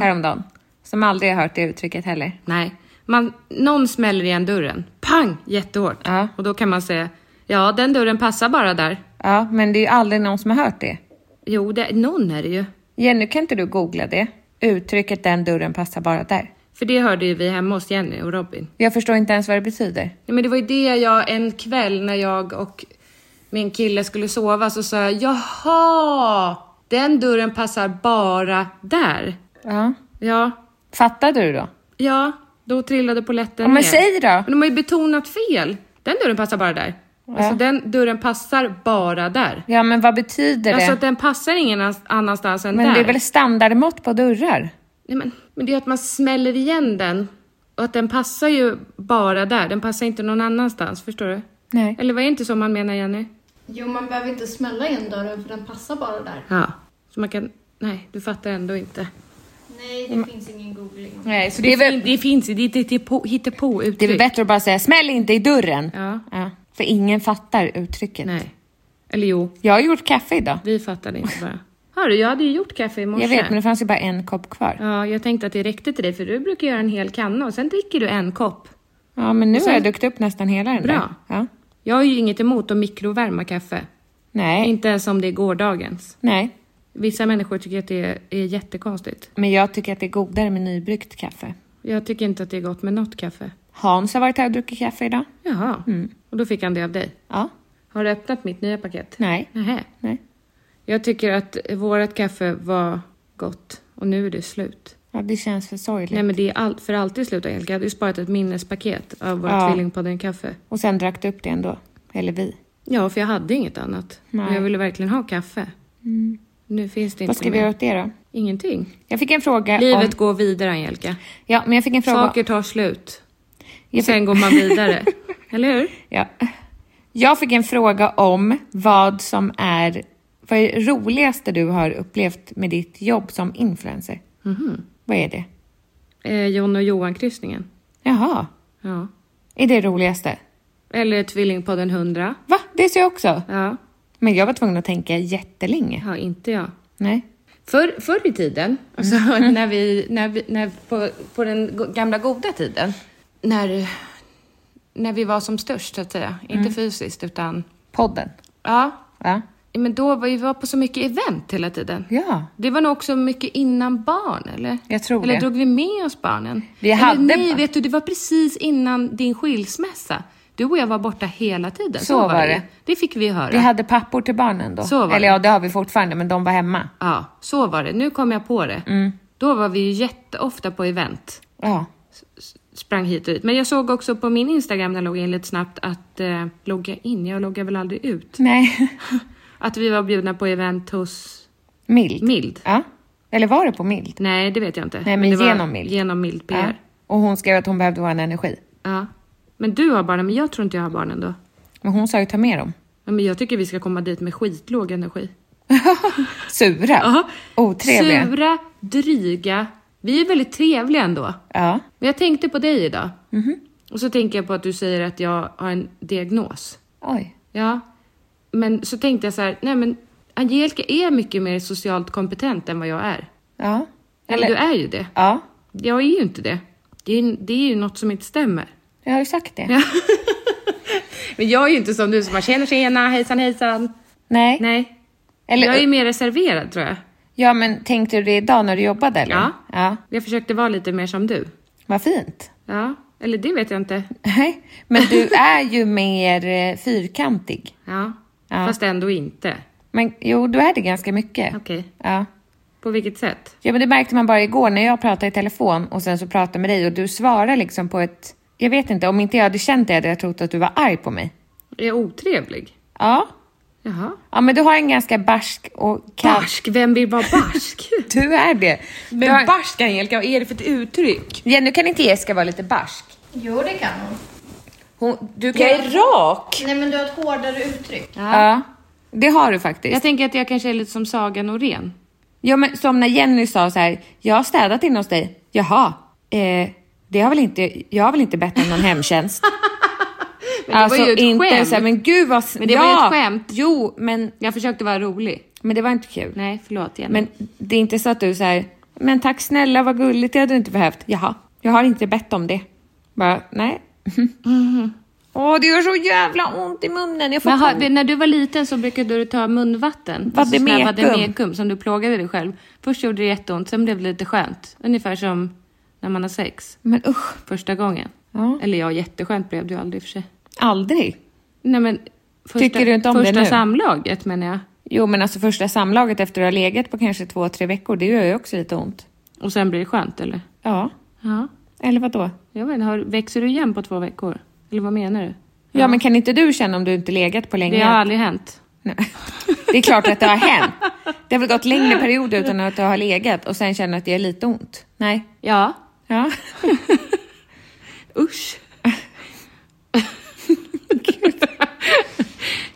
Speaker 2: häromdagen som aldrig har hört det uttrycket heller.
Speaker 1: Nej, man, någon smäller igen dörren. Pang! Jättehårt.
Speaker 2: Ja.
Speaker 1: Och då kan man säga, ja, den dörren passar bara där.
Speaker 2: Ja, men det är ju aldrig någon som har hört det.
Speaker 1: Jo, det, någon är det ju.
Speaker 2: Jenny, kan inte du googla det? Uttrycket den dörren passar bara där.
Speaker 1: För det hörde ju vi hemma hos Jenny och Robin.
Speaker 2: Jag förstår inte ens vad det betyder.
Speaker 1: Nej, men det var ju det jag en kväll när jag och min kille skulle sova så sa jag jaha, den dörren passar bara där.
Speaker 2: Ja.
Speaker 1: Ja,
Speaker 2: Fattar du då?
Speaker 1: ja, då trillade polletten
Speaker 2: Ja, men
Speaker 1: ner.
Speaker 2: säg då.
Speaker 1: Men de har ju betonat fel. Den dörren passar bara där. Alltså
Speaker 2: Ja.
Speaker 1: den dörren passar bara där.
Speaker 2: Ja, men vad betyder
Speaker 1: Alltså att
Speaker 2: det?
Speaker 1: den passar ingen annan- annanstans än
Speaker 2: Men
Speaker 1: där.
Speaker 2: det är väl standardmått på dörrar?
Speaker 1: Nej, men, men det är ju att man smäller igen den. Och att den passar ju bara där. Den passar inte någon annanstans, förstår du?
Speaker 2: Nej.
Speaker 1: Eller var det inte så man menar, Jenny?
Speaker 3: Jo, man behöver inte smälla igen dörren för den passar bara där.
Speaker 1: Ja. Så man kan... Nej, du fattar ändå inte.
Speaker 3: Nej,
Speaker 4: Mm.
Speaker 3: det finns ingen googling.
Speaker 1: Nej, så det,
Speaker 2: väl-
Speaker 1: fin- det finns det är ett på-
Speaker 2: Det är
Speaker 1: hittepå-uttryck.
Speaker 2: väl bättre att bara säga smäll inte i dörren.
Speaker 1: Typ. Ja.
Speaker 2: För ingen fattar uttrycket.
Speaker 1: Nej. Eller jo,
Speaker 2: Jag har gjort kaffe idag.
Speaker 1: vi fattade inte bara. Hörru, jag hade ju gjort kaffe i morse.
Speaker 2: Jag vet, men det fanns ju bara en kopp kvar. Ja,
Speaker 1: Ja, jag tänkte att det räckte till dig, för du brukar göra en hel kanna och sen dricker du en kopp.
Speaker 2: men nu
Speaker 1: Och sen-
Speaker 2: har jag druckit upp nästan hela den
Speaker 1: Bra.
Speaker 2: där. Ja.
Speaker 1: Jag har ju inget emot att mikrovärma kaffe.
Speaker 2: Nej,
Speaker 1: Inte ens om det är gårdagens.
Speaker 2: nej.
Speaker 1: Vissa människor tycker att det är, är jättekonstigt.
Speaker 2: Men jag tycker att det är godare med nybryggt kaffe.
Speaker 1: Jag tycker inte att det är gott med något kaffe.
Speaker 2: Hans har varit här och druckit kaffe idag.
Speaker 1: Jaha, och då fick han det av dig.
Speaker 2: Ja.
Speaker 1: Har du öppnat mitt nya paket?
Speaker 2: Nej.
Speaker 1: Nähä.
Speaker 2: Nej.
Speaker 1: Jag tycker att vårt kaffe var gott och nu är det slut.
Speaker 2: Ja, det känns för sorgligt.
Speaker 1: Nej men det är all, för alltid slut Angelica. Jag hade ju sparat ett minnespaket av vårt
Speaker 2: Ja.
Speaker 1: tvillingpodden-kaffe.
Speaker 2: Och sen drack du upp det ändå. Eller vi.
Speaker 1: Ja, för jag hade inget annat.
Speaker 2: Nej.
Speaker 1: Och jag ville verkligen ha kaffe. Mm. Nu finns det inte
Speaker 2: Vad ska vi
Speaker 1: mer.
Speaker 2: göra åt det då?
Speaker 1: Ingenting.
Speaker 2: Jag fick en fråga
Speaker 1: Livet
Speaker 2: om...
Speaker 1: går vidare Angelica.
Speaker 2: Ja, men jag fick en fråga...
Speaker 1: Saker tar slut.
Speaker 2: Jag
Speaker 1: Sen
Speaker 2: fick-
Speaker 1: går man [laughs] vidare. Eller hur?
Speaker 2: Ja. Jag fick en fråga om vad som är... Vad är det roligaste du har upplevt med ditt jobb som influencer?
Speaker 1: Mhm.
Speaker 2: Vad är det?
Speaker 1: Eh, John och Johan-kryssningen.
Speaker 2: Jaha,
Speaker 1: Ja.
Speaker 2: är det roligaste?
Speaker 1: Eller Tvillingpodden 100.
Speaker 2: Va? Det ser jag också.
Speaker 1: Ja.
Speaker 2: Men jag var tvungen att tänka jättelänge.
Speaker 1: ja, inte jag.
Speaker 2: Nej.
Speaker 1: Förr, förr i tiden,
Speaker 2: Mm. [laughs]
Speaker 1: alltså, när vi, när vi, när, på, på den go- gamla goda tiden, när, när vi var som störst, så att säga.
Speaker 2: Mm.
Speaker 1: Inte fysiskt, utan...
Speaker 2: Podden?
Speaker 1: Ja.
Speaker 2: Ja.
Speaker 1: Men då var vi var på så mycket event hela tiden.
Speaker 2: Ja.
Speaker 1: Det var nog också mycket innan barn, eller?
Speaker 2: Jag tror
Speaker 1: eller
Speaker 2: det.
Speaker 1: drog vi med oss barnen?
Speaker 2: Vi
Speaker 1: eller,
Speaker 2: hade
Speaker 1: Nej,
Speaker 2: ba-
Speaker 1: vet du, det var precis innan din skilsmässa. Du och jag var borta hela tiden.
Speaker 2: Så var
Speaker 1: ju.
Speaker 2: det.
Speaker 1: Det fick vi höra.
Speaker 2: Vi hade pappor till barnen då.
Speaker 1: Så var
Speaker 2: Eller
Speaker 1: det.
Speaker 2: ja, det har vi fortfarande, men de var hemma.
Speaker 1: Ja, så var det. Nu kom jag på det.
Speaker 2: Mm.
Speaker 1: Då var vi ju jätteofta på event.
Speaker 2: Ja.
Speaker 1: Sprang hit och dit. Men jag såg också på min Instagram när jag loggade in lite snabbt att... Eh, logga in? Jag loggar väl aldrig
Speaker 2: [laughs]
Speaker 1: ut?
Speaker 2: Nej.
Speaker 1: Att vi var bjudna på event hos
Speaker 2: Mild.
Speaker 1: Mild.
Speaker 2: Ja. Eller var det på Mild?
Speaker 1: Nej, det vet jag inte.
Speaker 2: Nej, men
Speaker 1: det var
Speaker 2: genom Mild.
Speaker 1: Genom Mild
Speaker 2: Ja.
Speaker 1: PR.
Speaker 2: Och hon skrev att hon behövde vår energi.
Speaker 1: Ja. Men du har barnen, men jag tror inte jag har barnen då.
Speaker 2: Men hon sa ju ta med dem.
Speaker 1: Ja, men jag tycker vi ska komma dit med skitlåg energi.
Speaker 2: [laughs] Sura.
Speaker 1: Ja.
Speaker 2: Otrevliga.
Speaker 1: Sura, dryga. Vi är väldigt trevliga ändå.
Speaker 2: Ja.
Speaker 1: Men jag tänkte på dig idag. Och så tänker jag på att du säger att jag har en diagnos.
Speaker 2: Oj.
Speaker 1: Ja. Men så tänkte jag så här, nej men Angelica är mycket mer socialt kompetent än vad jag är.
Speaker 2: Ja.
Speaker 1: Eller du är ju det.
Speaker 2: Ja.
Speaker 1: Jag är ju inte det. Det är, det är ju något som inte stämmer.
Speaker 2: Jag har ju sagt det.
Speaker 1: [laughs] Men jag är ju inte som du som bara tjena tjena, hejsan hejsan.
Speaker 2: Nej.
Speaker 1: Nej.
Speaker 2: Eller,
Speaker 1: jag är ju mer reserverad tror jag.
Speaker 2: Ja, men tänkte du det idag när du jobbade eller?
Speaker 1: Ja.
Speaker 2: ja.
Speaker 1: Jag försökte vara lite mer som du.
Speaker 2: Vad fint.
Speaker 1: Ja, eller det vet jag inte.
Speaker 2: Nej. Men
Speaker 1: [laughs]
Speaker 2: du är ju mer eh, fyrkantig.
Speaker 1: Ja,
Speaker 2: Ja.
Speaker 1: fast ändå inte.
Speaker 2: Men jo, du är det ganska mycket.
Speaker 1: Okej.
Speaker 2: Ja.
Speaker 1: På vilket sätt?
Speaker 2: Ja, men det märkte man bara igår när jag pratade i telefon och sen så pratade med dig och du svarade liksom på ett... Jag vet inte, om inte jag hade känt det hade jag trott att du var arg på mig.
Speaker 1: Är jag otrevlig?
Speaker 2: Ja.
Speaker 1: Jaha.
Speaker 2: Ja, men du har en ganska barsk och kall...
Speaker 1: Barsk, vem vill vara barsk?
Speaker 2: Du är det. Du har-
Speaker 1: Men barsk Angelica, vad är det för ett uttryck?
Speaker 2: Ja, nu kan inte Jessica vara lite barsk.
Speaker 3: Jo, det kan hon.
Speaker 2: Hon, du kan... Jag är rak!
Speaker 3: Nej, men du har ett hårdare uttryck.
Speaker 2: Ja, det har du
Speaker 1: [laughs]
Speaker 2: faktiskt.
Speaker 1: Jag tänker att jag kanske är lite som Saga Norén.
Speaker 2: Ja, men som när Jenny sa så här, jag har städat in hos dig. Jaha, eh, det har väl inte, jag har väl inte bett om någon [laughs] hemtjänst?
Speaker 1: Men det
Speaker 2: Alltså,
Speaker 1: var ju ett
Speaker 2: inte
Speaker 1: skämt.
Speaker 2: så här, men gud vad...
Speaker 1: Men det var ju ett skämt.
Speaker 2: Jo, men,
Speaker 1: Jag försökte vara rolig.
Speaker 2: men det var inte kul.
Speaker 1: Nej, förlåt Jenny.
Speaker 2: Men det är inte så att du säger, men tack snälla vad gulligt, det hade du inte behövt. Jaha, jag har inte bett om det. Bara, nej. [laughs] Åh, det gör så jävla ont i munnen. Jag får
Speaker 1: Men har,
Speaker 2: ton-
Speaker 1: vi- när du var liten så brukade du ta munvatten.
Speaker 2: Vadde
Speaker 1: sån här
Speaker 2: mekum.
Speaker 1: vaddemekum som du plågade dig själv. Först gjorde det jätteont, sen blev det lite skönt. Ungefär som när man har sex.
Speaker 2: Men usch,
Speaker 1: Första gången.
Speaker 2: Ja.
Speaker 1: Eller ja, jätteskönt blev det ju aldrig i och för sig.
Speaker 2: aldrig.
Speaker 1: Nej men, Första,
Speaker 2: Tycker du inte om det
Speaker 1: första
Speaker 2: nu?
Speaker 1: samlaget menar jag.
Speaker 2: Jo, men alltså första samlaget efter att ha legat på kanske två, tre veckor, det gör ju också lite ont.
Speaker 1: Och sen blir det skönt eller?
Speaker 2: Ja,
Speaker 1: Ja.
Speaker 2: eller vad då?
Speaker 1: Jag vet inte, har, växer du igen på två veckor? Eller vad menar du?
Speaker 2: Ja, men kan inte du känna om du inte legat på länge?
Speaker 1: Det har aldrig hänt.
Speaker 2: [laughs] Nej. Det är klart att det har hänt. Det har väl gått längre perioder utan att det har legat och sen känner att det är lite ont. Nej.
Speaker 1: Ja.
Speaker 2: [laughs] Ja.
Speaker 1: [laughs] Usch. [laughs]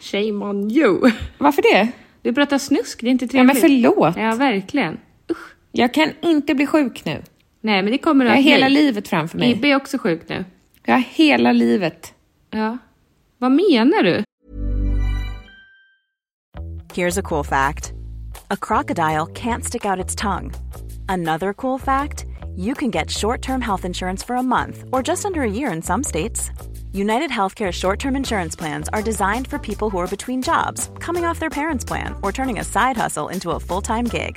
Speaker 1: Shame on you.
Speaker 2: Varför det?
Speaker 1: Du pratar snusk, det är inte
Speaker 2: Ja, men
Speaker 1: trevligt.
Speaker 2: förlåt.
Speaker 1: Ja, verkligen. Usch.
Speaker 2: Jag kan inte bli sjuk nu.
Speaker 1: Nej, men det kommer
Speaker 2: Jag har
Speaker 1: att
Speaker 2: hela
Speaker 1: bli.
Speaker 2: livet framför mig.
Speaker 1: Ibbe är också sjuk nu.
Speaker 2: Jag har hela livet.
Speaker 1: Ja. Vad menar du?
Speaker 5: Here's a cool fact a crocodile can't stick out its tongue. Another cool fact you can get short term health insurance for a month or just under a year in some states. United Healthcare short term insurance plans are designed for people who are between jobs, coming off their parents' plan, or turning a side hustle into a full time gig.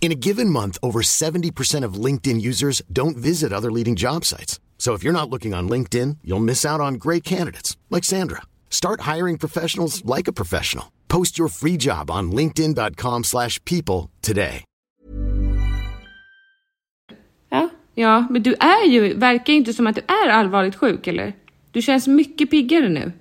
Speaker 6: In a given month, over 70% of LinkedIn users don't visit other leading job sites. So if you're not looking on LinkedIn, you'll miss out on great candidates like Sandra. Start hiring professionals like a professional. Post your free job on linkedin.com/people slash people today.
Speaker 2: Ja.
Speaker 1: Ja, men du är ju, verkar ju inte som att du är allvarligt sjuk eller? Du känns mycket piggare nu.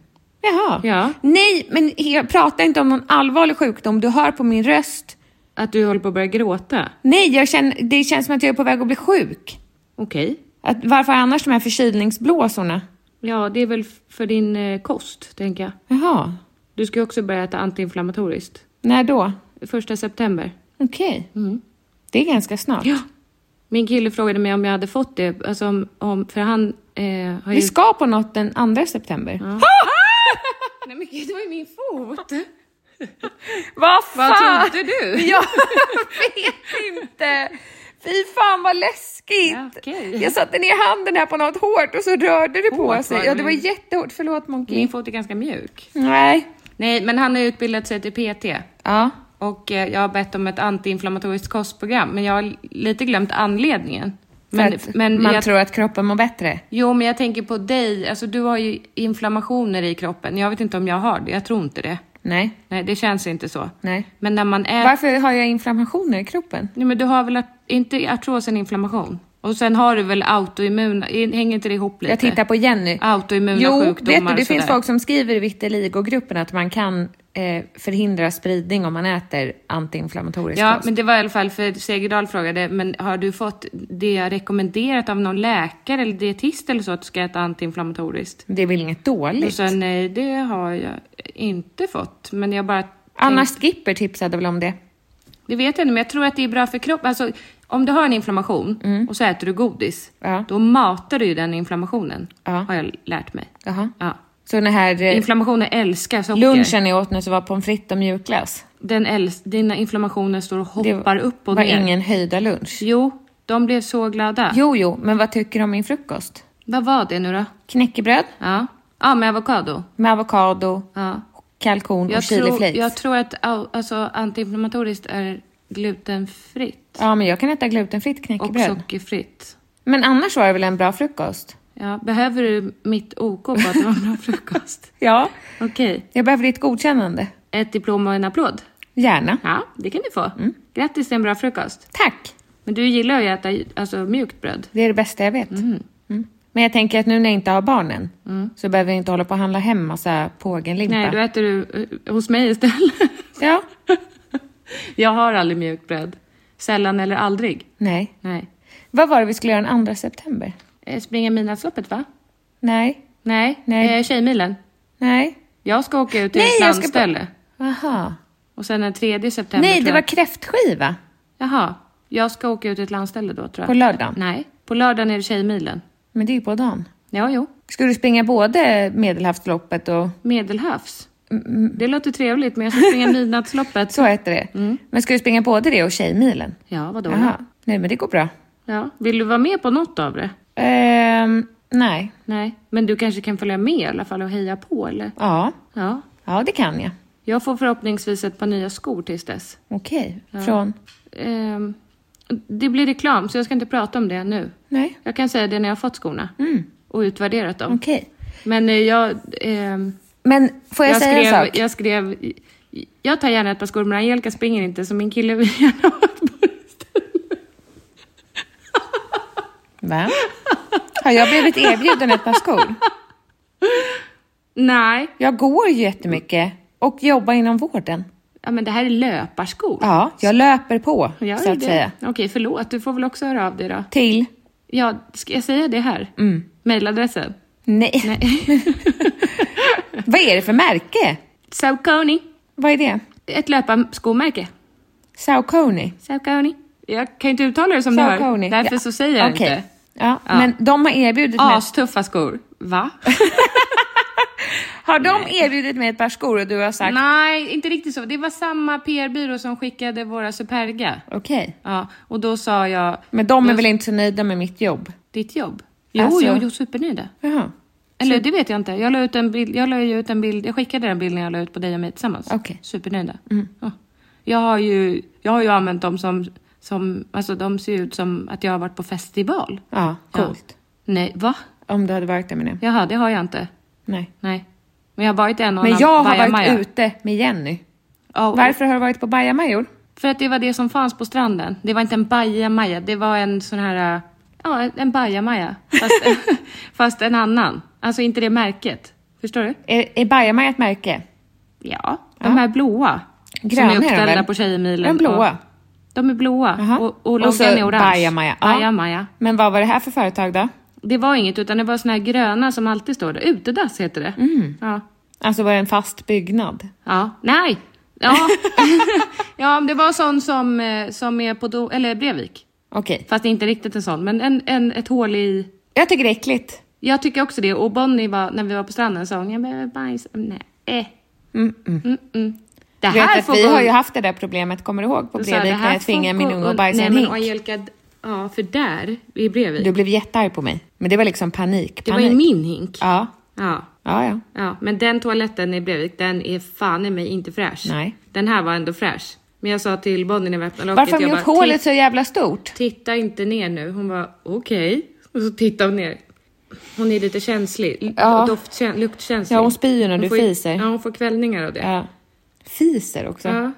Speaker 2: Jaha.
Speaker 1: Ja.
Speaker 2: Nej, men jag pratar inte om någon allvarlig sjukdom. Du hör på min röst.
Speaker 1: Att du håller på att börja gråta.
Speaker 2: Nej, jag känner, det känns som att jag är på väg att bli sjuk.
Speaker 1: Okej.
Speaker 2: Att, varför har jag annars de här förkylningsblåsorna?
Speaker 1: Ja, det är väl f- för din eh, kost, tänker jag.
Speaker 2: Jaha.
Speaker 1: Du ska ju också börja äta antiinflammatoriskt.
Speaker 2: När då?
Speaker 1: Första september.
Speaker 2: Okej. Det är ganska snart.
Speaker 1: Mm. Ja. Min kille frågade mig om jag hade fått det, alltså om, om för han eh, har
Speaker 2: Vi
Speaker 1: ju...
Speaker 2: ska på något den 2 september. Ah!
Speaker 1: Nej men gud, det var ju min fot!
Speaker 2: Vad
Speaker 1: [laughs] Vad
Speaker 2: fan!
Speaker 1: [laughs] trodde du?
Speaker 2: [laughs] Jag vet inte. Fy fan vad läskigt.
Speaker 1: Ja, okej.
Speaker 2: Jag satte ner handen här på något hårt och så rörde det på
Speaker 1: Hårt var
Speaker 2: sig.
Speaker 1: det,
Speaker 2: Ja, det
Speaker 1: men-
Speaker 2: var jättehårt. Förlåt Monkey.
Speaker 1: Min fot är ganska mjuk.
Speaker 2: Nej.
Speaker 1: Nej, men han har utbildat sig till PT.
Speaker 2: Ja.
Speaker 1: Och eh, jag har bett om ett antiinflammatoriskt kostprogram, men jag har lite glömt anledningen.
Speaker 2: Men,
Speaker 1: Men, men
Speaker 2: man
Speaker 1: jag,
Speaker 2: tror att kroppen mår bättre.
Speaker 1: Jo, men jag tänker på dig. Alltså, du har ju inflammationer i kroppen. Jag vet inte om jag har det. Jag tror inte det.
Speaker 2: Nej.
Speaker 1: Nej, det känns inte så.
Speaker 2: Nej.
Speaker 1: Men när man är...
Speaker 2: Varför har jag inflammationer i kroppen?
Speaker 1: Nej, men du har väl art- inte artros en inflammation? Och sen har du väl autoimmun... Hänger inte det ihop lite?
Speaker 2: Jag tittar på Jenny.
Speaker 1: Autoimmuna
Speaker 2: jo,
Speaker 1: sjukdomar
Speaker 2: vet du, det
Speaker 1: och
Speaker 2: finns
Speaker 1: sådär.
Speaker 2: folk som skriver i vitiligo-gruppen att man kan eh, förhindra spridning om man äter antiinflammatorisk
Speaker 1: Ja,
Speaker 2: kost.
Speaker 1: men det var i alla fall för Segerdahl frågade, men har du fått det rekommenderat av någon läkare eller dietist eller så att du ska äta antiinflammatoriskt?
Speaker 2: Det är väl inget
Speaker 1: Och
Speaker 2: dåligt?
Speaker 1: sen nej, det har jag inte fått. Men jag bara...
Speaker 2: Anna Skipper tipsade väl om det?
Speaker 1: Det vet jag inte, men jag tror att det är bra för kroppen. Alltså, om du har en inflammation och så äter du godis,
Speaker 2: Mm. Ja.
Speaker 1: då matar du ju den inflammationen.
Speaker 2: Ja.
Speaker 1: Har jag lärt mig.
Speaker 2: Jaha.
Speaker 1: Ja.
Speaker 2: Så den här eh,
Speaker 1: Inflammationer älskar socker.
Speaker 2: lunchen jag åt nu så var pommes frites och mjukglass.
Speaker 1: Den äls- dina inflammationer står och
Speaker 2: Det
Speaker 1: hoppar upp och
Speaker 2: var
Speaker 1: ner.
Speaker 2: ingen höjda lunch.
Speaker 1: Jo, de blev så glada.
Speaker 2: Jo, jo, men vad tycker du om min frukost?
Speaker 1: Vad var det nu då?
Speaker 2: Knäckebröd
Speaker 1: Ja, ja med avokado.
Speaker 2: med avokado,
Speaker 1: Ja.
Speaker 2: kalkon och
Speaker 1: Jag, tror,
Speaker 2: chiliflakes.
Speaker 1: jag tror att au- alltså, antiinflammatoriskt är glutenfritt
Speaker 2: Ja, men jag kan äta glutenfritt
Speaker 1: och
Speaker 2: knäckebröd.
Speaker 1: sockerfritt.
Speaker 2: Men annars var det väl en bra frukost?
Speaker 1: Ja, behöver du mitt OK på att det var en
Speaker 2: [laughs]
Speaker 1: bra frukost?
Speaker 2: Ja.
Speaker 1: Okej.
Speaker 2: Jag behöver ditt godkännande.
Speaker 1: Ett diplom och en applåd?
Speaker 2: Gärna.
Speaker 1: Ja, det kan du få.
Speaker 2: Mm.
Speaker 1: Grattis till en bra frukost.
Speaker 2: Tack!
Speaker 1: Men du gillar ju att äta alltså, mjukt bröd.
Speaker 2: Det är det bästa jag vet. Mm. Men jag tänker att nu när jag inte har barnen
Speaker 1: Mm.
Speaker 2: så behöver jag inte hålla på och handla hem massa pågenlimpa.
Speaker 1: Nej, då äter du eh, hos mig istället.
Speaker 2: Ja.
Speaker 1: Jag har aldrig mjukbröd. Sällan eller aldrig.
Speaker 2: Nej.
Speaker 1: Nej.
Speaker 2: Vad var det vi skulle göra den 2 september?
Speaker 1: Eh, Springa midnattsloppet, va?
Speaker 2: Nej.
Speaker 1: Nej.
Speaker 2: Nej.
Speaker 1: Eh, Tjejmilen.
Speaker 2: Nej.
Speaker 1: Jag ska åka ut till
Speaker 2: Nej,
Speaker 1: ett
Speaker 2: jag ska på-
Speaker 1: landställe.
Speaker 2: Aha.
Speaker 1: Och sen den 3 september
Speaker 2: Nej,
Speaker 1: tror
Speaker 2: det
Speaker 1: jag.
Speaker 2: var kräftskiva.
Speaker 1: Jaha. Jag ska åka ut till ett landställe då, tror jag.
Speaker 2: På lördagen?
Speaker 1: Nej. På lördagen är det Tjejmilen.
Speaker 2: Men det är ju på dagen.
Speaker 1: Ja, jo.
Speaker 2: Ska du springa både Medelhavsloppet och...
Speaker 1: Medelhavs. Det låter trevligt, men jag ska
Speaker 2: [laughs]
Speaker 1: springa midnattsloppet.
Speaker 2: Så heter det.
Speaker 1: Mm.
Speaker 2: Men ska du springa både det och Tjejmilen?
Speaker 1: Ja, vadå?
Speaker 2: Jaha. Nej, men det går bra.
Speaker 1: Ja. Vill du vara med på något av det?
Speaker 2: Ehm, nej.
Speaker 1: Nej. Men du kanske kan följa med i alla fall och heja på, eller?
Speaker 2: Ja.
Speaker 1: Ja.
Speaker 2: Ja, det kan jag.
Speaker 1: Jag får förhoppningsvis ett par nya skor tills dess.
Speaker 2: Okej. Från?
Speaker 1: Ehm, det blir reklam, så jag ska inte prata om det nu.
Speaker 2: Nej.
Speaker 1: Jag kan säga det när jag har fått skorna och utvärderat dem.
Speaker 2: Mm. Okej.
Speaker 1: Men eh, jag... ehm,
Speaker 2: Men får jag, säga
Speaker 1: skrev,
Speaker 2: en sak?
Speaker 1: Jag skrev... Jag tar gärna ett par skor, men Angelica springer inte, så min kille vill gärna ha ett par istället.
Speaker 2: Va? Har jag blivit erbjuden ett par skor?
Speaker 1: Nej,
Speaker 2: Jag går ju jättemycket och jobbar inom vården.
Speaker 1: ja, men det här är löparskor.
Speaker 2: Ja, jag löper på,
Speaker 1: Gör
Speaker 2: så
Speaker 1: du
Speaker 2: att
Speaker 1: det?
Speaker 2: säga.
Speaker 1: Okej, förlåt. Du får väl också höra av dig då.
Speaker 2: Till?
Speaker 1: Ja, ska jag säga det här? Mm. Mailadressen?
Speaker 2: Nej. [laughs] Vad är det för märke?
Speaker 1: Saucony.
Speaker 2: Vad är det?
Speaker 1: Ett löparskomärke.
Speaker 2: Saucony?
Speaker 1: Saucony. Jag kan inte uttala det som du hör.
Speaker 2: Saucony?
Speaker 1: Därför
Speaker 2: Ja.
Speaker 1: så säger jag
Speaker 2: Okej.
Speaker 1: inte.
Speaker 2: Ja,
Speaker 1: Ja.
Speaker 2: men de har erbjudit mig...
Speaker 1: Astuffa skor. Va?
Speaker 2: [laughs] Har de erbjudit mig ett par skor och du har sagt
Speaker 1: Nej, inte riktigt så. Det var samma PR-byrå som skickade våra Superga.
Speaker 2: okej?
Speaker 1: Ja, och då sa jag...
Speaker 2: Men de
Speaker 1: Mm.
Speaker 2: är väl inte så nöjda med mitt jobb?
Speaker 1: Ditt jobb? Jo,
Speaker 2: Alltså-
Speaker 1: jo, jo, supernöjda.
Speaker 2: Jaha,
Speaker 1: Eller det vet jag inte. Jag la ut en bild, jag la ju ut en bild, jag skickade den bilden jag la ut på dig och mig tillsammans.
Speaker 2: Okej. Mm.
Speaker 1: Supernöjda. Ja. Jag har ju, jag har ju använt dem som, som, alltså de ser ut som att jag har varit på festival.
Speaker 2: ja, coolt.
Speaker 1: Nej, va?
Speaker 2: Om du hade varit där med det.
Speaker 1: Jaha, det har jag inte.
Speaker 2: Nej.
Speaker 1: Nej. Men jag har varit i en och
Speaker 2: Men
Speaker 1: annan
Speaker 2: jag har
Speaker 1: Baja
Speaker 2: varit
Speaker 1: Maja.
Speaker 2: ute med Jenny.
Speaker 1: Ja, och-
Speaker 2: Varför har du varit på bajamajor?
Speaker 1: För att det var det som fanns på stranden. Det var inte en bajamaja, det var en sån här... äh, Ja, en bajamaja. Fast, [laughs] fast en annan. Alltså inte det märket. Förstår du?
Speaker 2: Är, är bajamaja ett märke?
Speaker 1: Ja. De här blåa.
Speaker 2: Gröna är
Speaker 1: som
Speaker 2: de
Speaker 1: är uppställda
Speaker 2: väl?
Speaker 1: på Tjejmilen.
Speaker 2: De blåa?
Speaker 1: Och, de är blåa.
Speaker 2: Jaha.
Speaker 1: Och, och loggan är orange.
Speaker 2: Bajamaja. Ja.
Speaker 1: Bajamaja.
Speaker 2: Men vad var det här för företag då?
Speaker 1: Det var inget, utan det var såna här gröna som alltid står där. Utedass heter det. Ja.
Speaker 2: Alltså var det en fast byggnad?
Speaker 1: Ja. Nej! Ja.
Speaker 2: [laughs]
Speaker 1: [laughs] ja, men det var sån som, eh, som är på Do- eller Brevik.
Speaker 2: Okej.
Speaker 1: Fast inte riktigt en sån, men en, en, ett hål i...
Speaker 2: Jag tycker det är äckligt.
Speaker 1: Jag tycker också det. Och Bonnie var, när vi var på stranden sa hon, jag behöver bajs. Nej. Eh. Mm-mm. Det
Speaker 2: Mm, Du vet
Speaker 1: här
Speaker 2: att
Speaker 1: får
Speaker 2: vi
Speaker 1: gå
Speaker 2: har ju
Speaker 1: un-
Speaker 2: haft det där problemet, kommer du ihåg? På
Speaker 1: Då sa jag,
Speaker 2: Brevik
Speaker 1: "Det här
Speaker 2: när jag
Speaker 1: får
Speaker 2: tvingade min
Speaker 1: gå
Speaker 2: unge att
Speaker 1: un-
Speaker 2: bajsa i en
Speaker 1: Nej men
Speaker 2: hink.
Speaker 1: Angelica, d- ja för där, i Brevik.
Speaker 2: Du blev jättearg på mig. Men det var liksom panik.
Speaker 1: det var
Speaker 2: panik.
Speaker 1: ju min hink.
Speaker 2: Ja.
Speaker 1: Ja.
Speaker 2: Ja, ja.
Speaker 1: Ja, men den toaletten i Brevik, den är fan i mig inte fräsch.
Speaker 2: Nej.
Speaker 1: Den här var ändå fräsch. Men jag sa till Bonnie när vi öppnade
Speaker 2: Varför har
Speaker 1: jag
Speaker 2: de gjort
Speaker 1: bara,
Speaker 2: hålet så jävla stort?
Speaker 1: titta inte ner nu. Hon var okej. Och så tittade hon ner. Hon är lite känslig.
Speaker 2: Ja.
Speaker 1: Ja. Doftkä- luktkänslig.
Speaker 2: Ja, hon spyr ju när
Speaker 1: Hon
Speaker 2: du
Speaker 1: får ju-
Speaker 2: fiser.
Speaker 1: Ja, hon får kvällningar av det. Ja.
Speaker 2: Ja. Fiser också.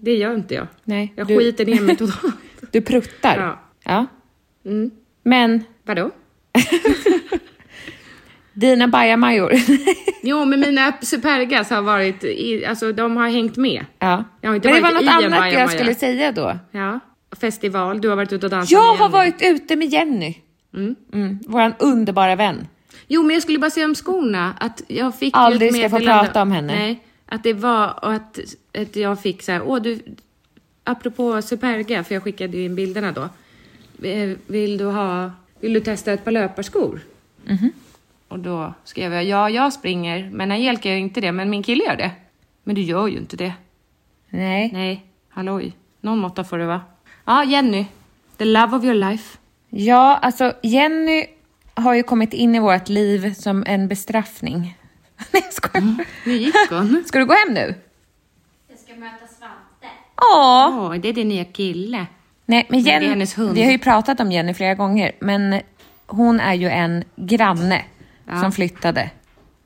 Speaker 1: Det gör inte jag.
Speaker 2: Nej,
Speaker 1: Jag
Speaker 2: du-
Speaker 1: skiter ner mig totalt.
Speaker 2: [laughs] Du pruttar.
Speaker 1: Ja. Mm.
Speaker 2: Ja. Men
Speaker 1: Vadå?
Speaker 2: dina bajamajor. [laughs]
Speaker 1: Jo, men mina Supergas har varit, i, alltså de har hängt med. Jag
Speaker 2: ja.
Speaker 1: har
Speaker 2: Men
Speaker 1: inte
Speaker 2: det
Speaker 1: varit
Speaker 2: var något
Speaker 1: i en Alltså,
Speaker 2: annat jag
Speaker 1: bajamaja.
Speaker 2: skulle säga då.
Speaker 1: Ja. Festival, du har varit ute och dansat
Speaker 2: Jag
Speaker 1: med
Speaker 2: har
Speaker 1: Jenny.
Speaker 2: varit ute med Jenny. Mm, våran underbara vän.
Speaker 1: Jo, men jag skulle bara säga om skorna att jag fick ju
Speaker 2: Aldrig
Speaker 1: ett
Speaker 2: ska få
Speaker 1: meddelande-
Speaker 2: prata om henne.
Speaker 1: Nej, att det var och att, att jag fick så här, åh du, apropå Superga, för jag skickade ju in bilderna då. Eh, Vill du ha, vill du testa ett par löparskor?
Speaker 2: Mhm.
Speaker 1: Och då skrev jag, ja, jag springer, men Angelica gör inte det, men min kille gör det. Men du gör ju inte det.
Speaker 2: Nej.
Speaker 1: Nej, halloj. Någon måtta får det vara. Ja, Jenny. The love of your life.
Speaker 2: Ja, alltså Jenny har ju kommit in i vårt liv som en bestraffning. [laughs] Nej, jag skojar.
Speaker 1: Nu gick
Speaker 2: [laughs]
Speaker 1: hon.
Speaker 2: Ska du gå hem nu?
Speaker 3: Jag ska möta Svante.
Speaker 2: Ja.
Speaker 1: Åh, det är din nya kille.
Speaker 2: Nej, men
Speaker 1: det är
Speaker 2: Jenny,
Speaker 1: hennes hund.
Speaker 2: vi har ju pratat om Jenny flera gånger, men hon är ju en granne som flyttade.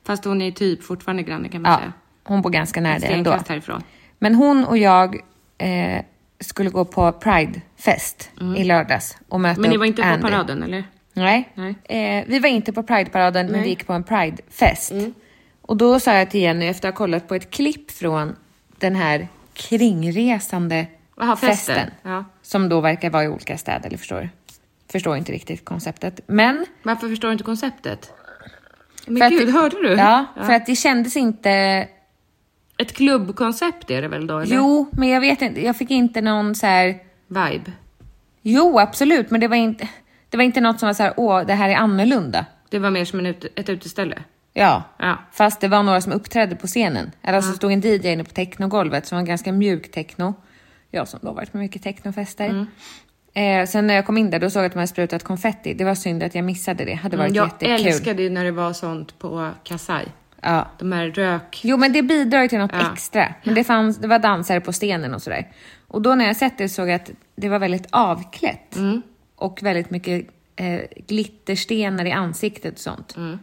Speaker 1: Fast hon är typ fortfarande granne kan man
Speaker 2: Ja,
Speaker 1: säga.
Speaker 2: hon bor ganska nära
Speaker 1: Ett
Speaker 2: dig ändå.
Speaker 1: stenkast härifrån.
Speaker 2: Men hon och jag eh, skulle gå på Pride-fest i lördags och möta
Speaker 1: Mm. Men ni
Speaker 2: upp
Speaker 1: var inte på
Speaker 2: Andy.
Speaker 1: paraden eller?
Speaker 2: Nej.
Speaker 1: Nej.
Speaker 2: Eh, vi var inte på Pride-paraden, men vi gick på en
Speaker 1: Mm.
Speaker 2: Pride-fest. Och då sa jag till Jenny, efter att ha kollat på ett klipp från den här kringresande
Speaker 1: Jaha, festen.
Speaker 2: festen.
Speaker 1: Ja.
Speaker 2: Som då verkar vara i olika städer, eller förstår du? Förstår inte riktigt konceptet. Men...
Speaker 1: Varför förstår du inte konceptet?
Speaker 2: för
Speaker 1: Men
Speaker 2: att
Speaker 1: gud,
Speaker 2: det-
Speaker 1: hörde du?
Speaker 2: Ja, för att det kändes inte...
Speaker 1: Ett klubbkoncept är det väl då? Eller?
Speaker 2: Jo, men jag vet inte. Jag fick inte någon så här...
Speaker 1: Vibe.
Speaker 2: Jo, absolut, men det var inte, det var inte något som var så här, åh, det här är annorlunda.
Speaker 1: Det var mer som en ut- ett uteställe.
Speaker 2: Ja.
Speaker 1: Ja.
Speaker 2: Fast det var några som uppträdde på scenen. Eller så stod en DJ inne på technogolvet som var ganska mjuk techno. Jag som då varit med mycket technofester.
Speaker 1: Mm.
Speaker 2: Eh, sen när jag kom in där då såg jag att de hade sprutat konfetti. Det var synd att jag missade det. hade varit
Speaker 1: Mm, jag
Speaker 2: jättekul.
Speaker 1: älskade ju när det var sånt på Kasai.
Speaker 2: Ja.
Speaker 1: De här rök...
Speaker 2: Jo, men det bidrar ju till något
Speaker 1: Ja.
Speaker 2: extra. Men det, fanns, det var dansare på stenen och sådär. Och då när jag sett det såg jag att det var väldigt avklätt.
Speaker 1: Mm.
Speaker 2: Och väldigt mycket eh, glitterstenar i ansiktet och sånt.
Speaker 1: Mm.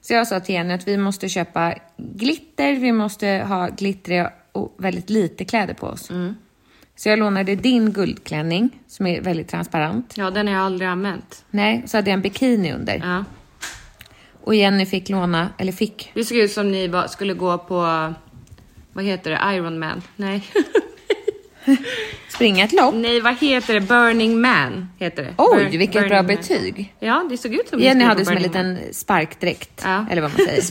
Speaker 2: Så jag sa till Jenny att vi måste köpa glitter, vi måste ha glittriga och väldigt lite kläder på oss.
Speaker 1: Mm.
Speaker 2: Så jag lånade din guldklänning som är väldigt transparent.
Speaker 1: Ja, den har jag aldrig använt.
Speaker 2: Nej, så hade jag en bikini under.
Speaker 1: Ja.
Speaker 2: Och Jenny fick låna, eller fick,
Speaker 1: Det såg ut som ni var, skulle gå på... Vad heter det? Iron Man?
Speaker 2: [laughs]
Speaker 1: Nej.
Speaker 2: springa ett lopp.
Speaker 1: Nej, vad heter det? Burning Man heter det.
Speaker 2: Oj,
Speaker 1: Bur-
Speaker 2: vilket
Speaker 1: Burning
Speaker 2: bra
Speaker 1: Man.
Speaker 2: betyg.
Speaker 1: Ja, det såg ut som ni
Speaker 2: Jenny
Speaker 1: skulle
Speaker 2: hade
Speaker 1: på
Speaker 2: som en
Speaker 1: Burning Man.
Speaker 2: liten [laughs] sparkdräkt,
Speaker 1: Ja.
Speaker 2: eller vad man säger.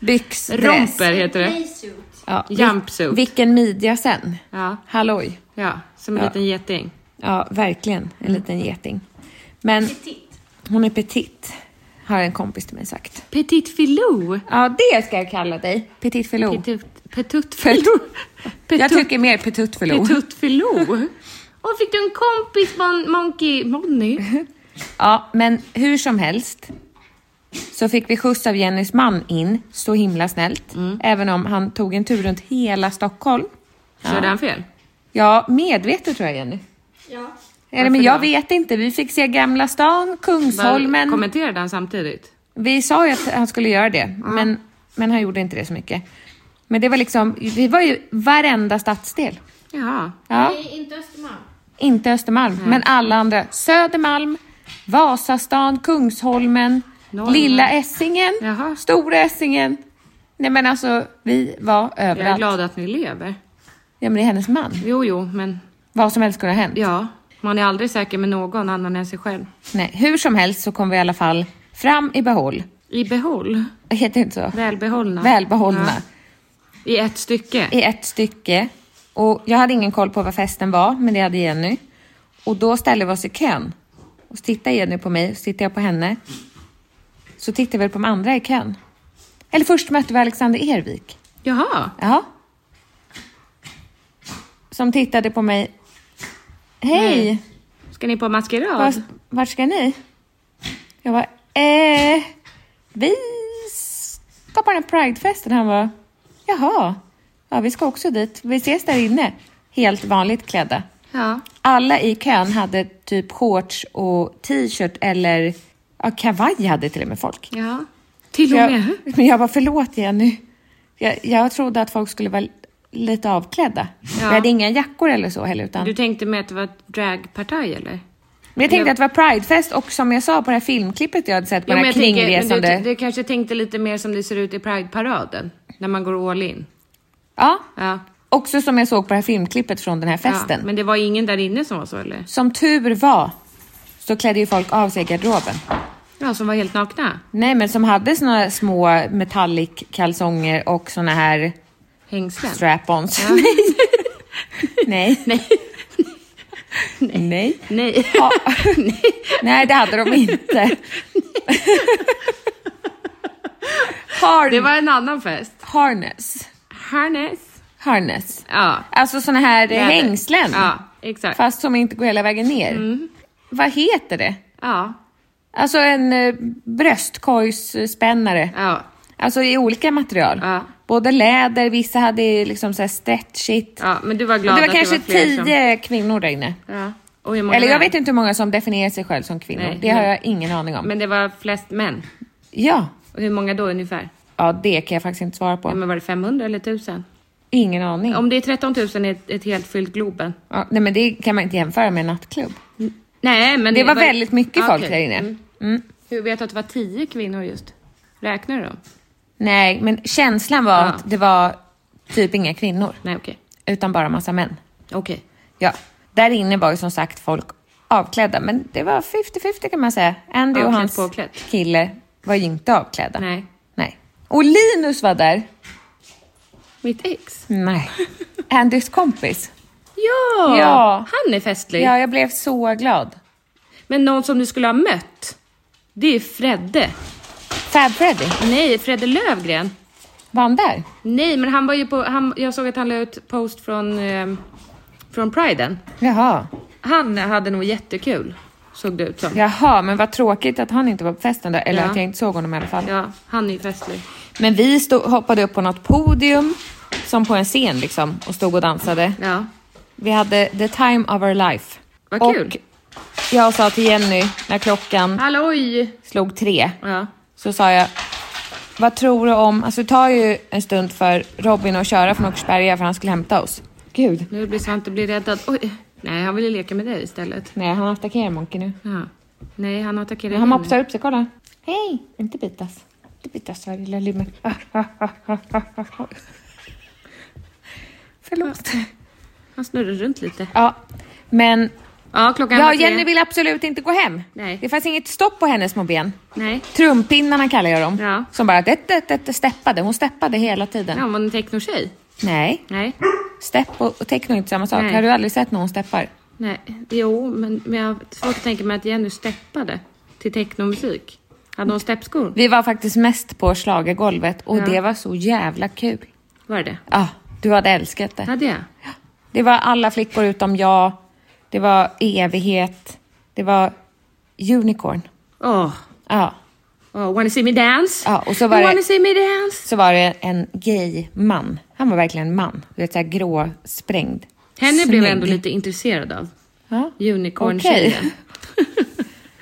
Speaker 2: Byxdress.
Speaker 1: Romper heter det.
Speaker 3: Playsuit.
Speaker 2: Ja. vil-
Speaker 1: Jumpsuit.
Speaker 2: Vilken midja sen.
Speaker 1: Ja.
Speaker 2: Halloj.
Speaker 1: Ja, som en
Speaker 2: Ja.
Speaker 1: liten geting.
Speaker 2: Ja, verkligen. En liten geting. Men
Speaker 3: Petit.
Speaker 2: hon är petit, har en kompis till mig sagt.
Speaker 1: Petit filou.
Speaker 2: Ja, det ska jag kalla dig. Petit filou.
Speaker 1: Petit- Petut filou.
Speaker 2: Jag
Speaker 1: Petut-
Speaker 2: tycker mer petit filou.
Speaker 1: Petut filou. Åh, fick du en kompis, mon- Monkey Money?
Speaker 2: Ja, men hur som helst så fick vi skjuts av Jennys man in, så himla snällt. Även om han tog en tur runt hela Stockholm.
Speaker 1: Körde han fel?
Speaker 2: Ja, medvetet tror jag Jenny.
Speaker 3: Ja.
Speaker 2: Eller, men jag vet inte. Vi fick se Gamla stan, Kungsholmen.
Speaker 1: Bara Kommenterade han samtidigt?
Speaker 2: Vi sa ju att han skulle göra det, men, men han gjorde inte det så mycket. Men det var liksom, vi var ju varenda stadsdel.
Speaker 1: Ja.
Speaker 2: Ja,
Speaker 3: Nej, inte Östermalm.
Speaker 2: inte Östermalm, men alla andra. Södermalm, Vasastan, Kungsholmen,
Speaker 1: Norrmalm.
Speaker 2: Lilla Essingen,
Speaker 1: Jaha.
Speaker 2: Stora Essingen. Nej men alltså, vi var
Speaker 1: Jag är
Speaker 2: överallt.
Speaker 1: glad att ni lever.
Speaker 2: Ja men det är hennes man.
Speaker 1: Jo, jo, men
Speaker 2: Vad som helst kunde ha hänt.
Speaker 1: ja. Man är aldrig säker med någon annan än sig själv.
Speaker 2: Nej, hur som helst så kom vi i alla fall fram i behåll.
Speaker 1: I behåll.
Speaker 2: Heter det inte så?
Speaker 1: Välbehållna.
Speaker 2: Välbehållna.
Speaker 1: Ja. I ett stycke.
Speaker 2: i ett stycke. Och jag hade ingen koll på vad festen var, men det hade Jenny. Och då ställde vi oss i kön. Och så tittade Jenny på mig, så tittade jag på henne. Så tittade vi på de andra i kön. Eller först mötte vi Alexander Ervik.
Speaker 1: Jaha.
Speaker 2: Ja. Som tittade på mig. Hej!
Speaker 1: Ska ni på maskerad?
Speaker 2: Var, vart ska ni? Jag var eh, vi ska på den här pridefesten. Han var jaha, ja vi ska också dit. Vi ses där inne. Helt vanligt klädda.
Speaker 1: Ja.
Speaker 2: Alla i kön hade typ shorts och t-shirt eller ja, kavaj hade till och med folk.
Speaker 1: Ja. Till och
Speaker 2: Jag,
Speaker 1: med.
Speaker 2: men jag var förlåt Jenny. Jag, jag trodde att folk skulle vara lite avklädda.
Speaker 1: Ja.
Speaker 2: Vi hade inga jackor eller så heller. Utan...
Speaker 1: Du tänkte med att det var ett dragpartaj eller?
Speaker 2: Men jag tänkte att det var pridefest och som jag sa på det här filmklippet jag hade sett på den här
Speaker 1: jag tänker-
Speaker 2: kringresande...
Speaker 1: men du, du kanske tänkte lite mer som det ser ut i Pride-paraden. När man går all in.
Speaker 2: Ja.
Speaker 1: Ja.
Speaker 2: Också som jag såg på det här filmklippet från den här festen.
Speaker 1: Ja, men det var ingen där inne som var så eller?
Speaker 2: Som tur var så klädde ju folk av sig i garderoben.
Speaker 1: Ja, som var helt nakna.
Speaker 2: Nej, men som hade såna små metallic kalsonger och såna här
Speaker 1: Hängslen.
Speaker 2: strap-ons. [laughs]
Speaker 1: [laughs]
Speaker 2: Nej. Nej. Nej. Nej.
Speaker 1: [laughs] Nej.
Speaker 2: Ja. [laughs] Nej, det hade
Speaker 1: [laughs]
Speaker 2: de inte. [laughs] Har-
Speaker 1: Det var en annan fest.
Speaker 2: Harness.
Speaker 1: Harness.
Speaker 2: Harness.
Speaker 1: Ja.
Speaker 2: Alltså såna här
Speaker 1: Läder.
Speaker 2: hängslen.
Speaker 1: Ja, exakt. Mm.
Speaker 2: Fast som inte går hela vägen ner. Vad heter det?
Speaker 1: Ja.
Speaker 2: Alltså en eh, bröstkorgsspännare.
Speaker 1: Ja.
Speaker 2: Alltså i olika material.
Speaker 1: Ja.
Speaker 2: Både läder, vissa hade ju liksom så här stretchigt.
Speaker 1: Ja, men du var glad
Speaker 2: Och det
Speaker 1: att
Speaker 2: var
Speaker 1: det
Speaker 2: kanske
Speaker 1: var fler som-
Speaker 2: tio kvinnor där inne.
Speaker 1: ja. Och hur många
Speaker 2: Eller jag
Speaker 1: män?
Speaker 2: vet inte hur många som definierar sig själv som kvinnor.
Speaker 1: Nej,
Speaker 2: det har
Speaker 1: men-
Speaker 2: jag ingen aning om.
Speaker 1: Men det var flest män.
Speaker 2: Ja.
Speaker 1: Och hur många då ungefär?
Speaker 2: ja, det kan jag faktiskt inte svara på.
Speaker 1: Ja, men var det 500 eller 1000?
Speaker 2: Ingen aning.
Speaker 1: Om det är 13 000 är ett, ett helt fyllt Globen.
Speaker 2: Ja, nej, men det kan man inte jämföra med en nattklubb.
Speaker 1: Nej, men
Speaker 2: Det var väldigt mycket
Speaker 1: Ja,
Speaker 2: folk
Speaker 1: okej.
Speaker 2: där inne.
Speaker 1: Mm. Hur vet du att det var 10 kvinnor just? Räknar du dem?
Speaker 2: Nej, men känslan var
Speaker 1: Ja.
Speaker 2: att det var Typ inga kvinnor.
Speaker 1: Nej, okej.
Speaker 2: Utan bara massa män.
Speaker 1: Okej.
Speaker 2: Ja. Där inne var ju som sagt folk avklädda, men det var 50-50 kan man säga. Andy och
Speaker 1: Avklädd,
Speaker 2: hans
Speaker 1: påklädd.
Speaker 2: kille var ju inte avklädda.
Speaker 1: Nej.
Speaker 2: Nej. Och Linus var där.
Speaker 1: Mitt ex?
Speaker 2: Nej. [laughs] Andys kompis.
Speaker 1: Ja!
Speaker 2: Ja.
Speaker 1: Han är festlig.
Speaker 2: Ja, jag blev så glad.
Speaker 1: Men någon som du skulle ha mött, det är Fredde.
Speaker 2: Fab Freddy,
Speaker 1: Nej, Fredde Lövgren.
Speaker 2: var han där?
Speaker 1: Nej, men han var ju på... Han, jag såg att han la ut post från, eh, från priden.
Speaker 2: Jaha.
Speaker 1: Han hade nog jättekul, såg det ut som.
Speaker 2: Jaha, men vad tråkigt att han inte var på festen då. Eller
Speaker 1: Ja.
Speaker 2: att jag inte såg honom i alla fall.
Speaker 1: Ja, han är ju festlig.
Speaker 2: Men vi stod, hoppade upp på något podium, som på en scen liksom, och stod och dansade.
Speaker 1: Ja.
Speaker 2: Vi hade the time of our life.
Speaker 1: Vad kul.
Speaker 2: Och jag sa till Jenny när klockan
Speaker 1: Halloj!
Speaker 2: slog tre,
Speaker 1: Ja.
Speaker 2: så sa jag, vad tror du om... Alltså det tar ju en stund för Robin att köra från Åkersberga för han skulle hämta oss. Gud.
Speaker 1: Nu blir Svante blir räddad. Oj! Nej, han ville leka med dig istället.
Speaker 2: Nej, han attackerar Monke nu.
Speaker 1: Ja. Nej, han attackerar
Speaker 2: Han
Speaker 1: henne.
Speaker 2: mopsar upp sig, kolla. Mm. Hej! Inte bitas. Inte bitas, va, lilla [laughs] limmen. Förlåt.
Speaker 1: Han snurrar runt lite.
Speaker 2: Ja, men...
Speaker 1: Ja, klockan
Speaker 2: Ja,
Speaker 1: var tre.
Speaker 2: Jenny vill absolut inte gå hem.
Speaker 1: Nej.
Speaker 2: Det fanns inget stopp på hennes små ben.
Speaker 1: Nej.
Speaker 2: Trumpinnarna kallar jag dem.
Speaker 1: Ja.
Speaker 2: Som bara det, det, det, det, steppade. Hon steppade hela tiden.
Speaker 1: Ja, han var en technotjej.
Speaker 2: Nej,
Speaker 1: Nej.
Speaker 2: stepp och, och techno är inte samma sak.
Speaker 1: Nej.
Speaker 2: Har du aldrig sett någon steppar?
Speaker 1: Nej. Jo, men, men jag har svårt att tänka mig att Jenny steppade till technomusik. Hade hon steppskor?
Speaker 2: Vi var faktiskt mest på schlagergolvet och
Speaker 1: Ja.
Speaker 2: det var så jävla kul.
Speaker 1: Var det
Speaker 2: Ja, du hade älskat det.
Speaker 1: Hade jag?
Speaker 2: Det var alla flickor utom jag. Det var evighet. Det var unicorn.
Speaker 1: Åh.
Speaker 2: Ja.
Speaker 1: Oh, wanna see me dance?
Speaker 2: Ja, och så var
Speaker 1: you
Speaker 2: det-
Speaker 1: Wanna see me dance?
Speaker 2: Så var det en gay man. Han var verkligen man. Du vet, så här grå, sprängd.
Speaker 1: Henne blev jag ändå
Speaker 2: Snygg.
Speaker 1: lite intresserad av.
Speaker 2: Ja.
Speaker 1: Unicorn-tjejen.
Speaker 2: Okej.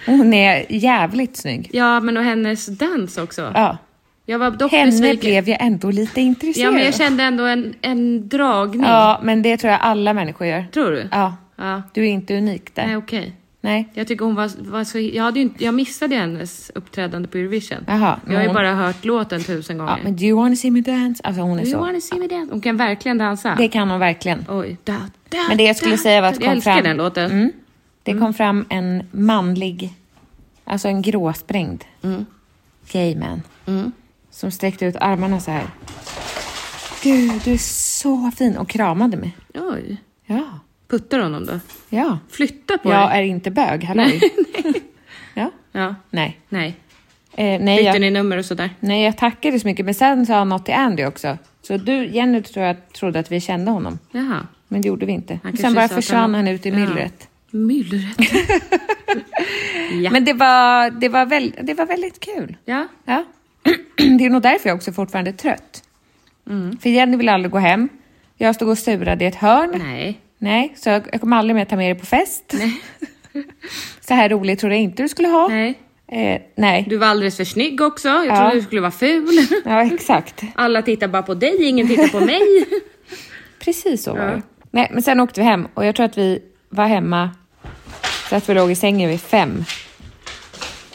Speaker 2: Hon är jävligt snygg.
Speaker 1: Ja, men och hennes dans också.
Speaker 2: Ja.
Speaker 1: Jag var dock
Speaker 2: Henne
Speaker 1: besviken.
Speaker 2: blev jag ändå lite intresserad
Speaker 1: Ja, men jag kände ändå en, en dragning.
Speaker 2: Ja, men det tror jag alla människor gör.
Speaker 1: Tror du?
Speaker 2: Ja.
Speaker 1: Ja.
Speaker 2: Du är inte unik där.
Speaker 1: Nej, okej.
Speaker 2: Nej.
Speaker 1: Jag tycker hon var, var så... Jag, hade ju inte, jag missade ju hennes uppträdande på Eurovision.
Speaker 2: Jaha, men
Speaker 1: jag har ju
Speaker 2: hon-
Speaker 1: bara hört låten tusen gånger.
Speaker 2: Ja, men do you wanna see me dance? Alltså hon är
Speaker 1: Do you
Speaker 2: så.
Speaker 1: wanna see me dance? Hon kan verkligen dansa.
Speaker 2: Det kan hon verkligen.
Speaker 1: Oj. Da, da,
Speaker 2: Men det jag skulle
Speaker 1: da,
Speaker 2: säga var att
Speaker 1: da.
Speaker 2: det
Speaker 1: Jag
Speaker 2: kom
Speaker 1: älskar
Speaker 2: fram...
Speaker 1: den låten.
Speaker 2: Mm. Det kom fram en manlig, alltså en gråsprängd
Speaker 1: Mm.
Speaker 2: gay man. Som sträckte ut armarna så här. Gud, du är så fin! Och kramade mig.
Speaker 1: Oj.
Speaker 2: Ja.
Speaker 1: Puttar honom då?
Speaker 2: Ja.
Speaker 1: Flytta på
Speaker 2: Jag
Speaker 1: dig?
Speaker 2: är inte bög, halloj. [laughs] ja.
Speaker 1: Ja.
Speaker 2: Nej.
Speaker 1: Nej.
Speaker 2: Eh, nej,
Speaker 1: Bytte
Speaker 2: jag,
Speaker 1: ni nummer och sådär?
Speaker 2: nej, jag tackade så mycket. Men sen sa han något till Andy också. Så du, Jenny, tror jag trodde att vi kände honom.
Speaker 1: Jaha.
Speaker 2: Men det gjorde vi inte.
Speaker 1: Han kanske
Speaker 2: Sen bara
Speaker 1: sa att
Speaker 2: försvann han,
Speaker 1: var-
Speaker 2: ut i
Speaker 1: Ja.
Speaker 2: myllret. [laughs]
Speaker 1: Myllret? ja.
Speaker 2: Men det var, det, var väl, det var väldigt kul.
Speaker 1: ja.
Speaker 2: Ja. [clears throat] Det är nog därför jag också fortfarande är trött.
Speaker 1: Mm.
Speaker 2: För Jenny vill aldrig gå hem. Jag stod och surade i ett hörn.
Speaker 1: Nej.
Speaker 2: Nej, så jag, jag kommer aldrig mer ta med dig på fest. [laughs] så här roligt trodde jag inte du skulle ha.
Speaker 1: Nej.
Speaker 2: Eh, nej.
Speaker 1: Du var alldeles för snygg också. Jag
Speaker 2: Ja.
Speaker 1: trodde du skulle vara ful. [laughs]
Speaker 2: Ja, exakt.
Speaker 1: Alla tittar bara på dig, ingen tittar på mig.
Speaker 2: Precis så var det. Nej, men sen åkte vi hem och jag tror att vi var hemma så att vi låg i sängen vid fem.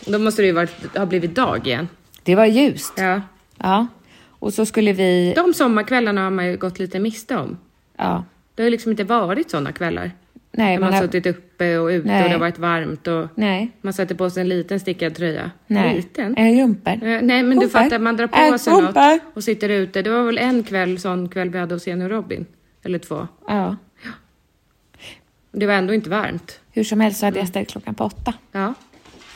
Speaker 1: Då måste det ju varit, ha blivit dag igen.
Speaker 2: Det var ljust.
Speaker 1: Ja.
Speaker 2: Ja. Och så skulle vi...
Speaker 1: De sommarkvällarna har man ju gått lite miste om.
Speaker 2: Ja.
Speaker 1: Det har ju liksom inte varit sådana kvällar.
Speaker 2: Nej,
Speaker 1: Där man
Speaker 2: man
Speaker 1: har
Speaker 2: har...
Speaker 1: suttit uppe och ute
Speaker 2: Nej.
Speaker 1: och det har varit varmt och
Speaker 2: Nej.
Speaker 1: man sätter på sig en liten stickad tröja.
Speaker 2: Nej.
Speaker 1: Liten?
Speaker 2: En jumper.
Speaker 1: Eh, Nej men du
Speaker 2: Humper.
Speaker 1: fattar, man drar på
Speaker 2: En
Speaker 1: sig
Speaker 2: humper.
Speaker 1: något och sitter ute. Det var väl en kväll, sån kväll vi hade hos Jenny och Robin. Eller två.
Speaker 2: Ja.
Speaker 1: Det var ändå inte varmt.
Speaker 2: Hur som helst så hade jag ställt klockan på åtta.
Speaker 1: Ja,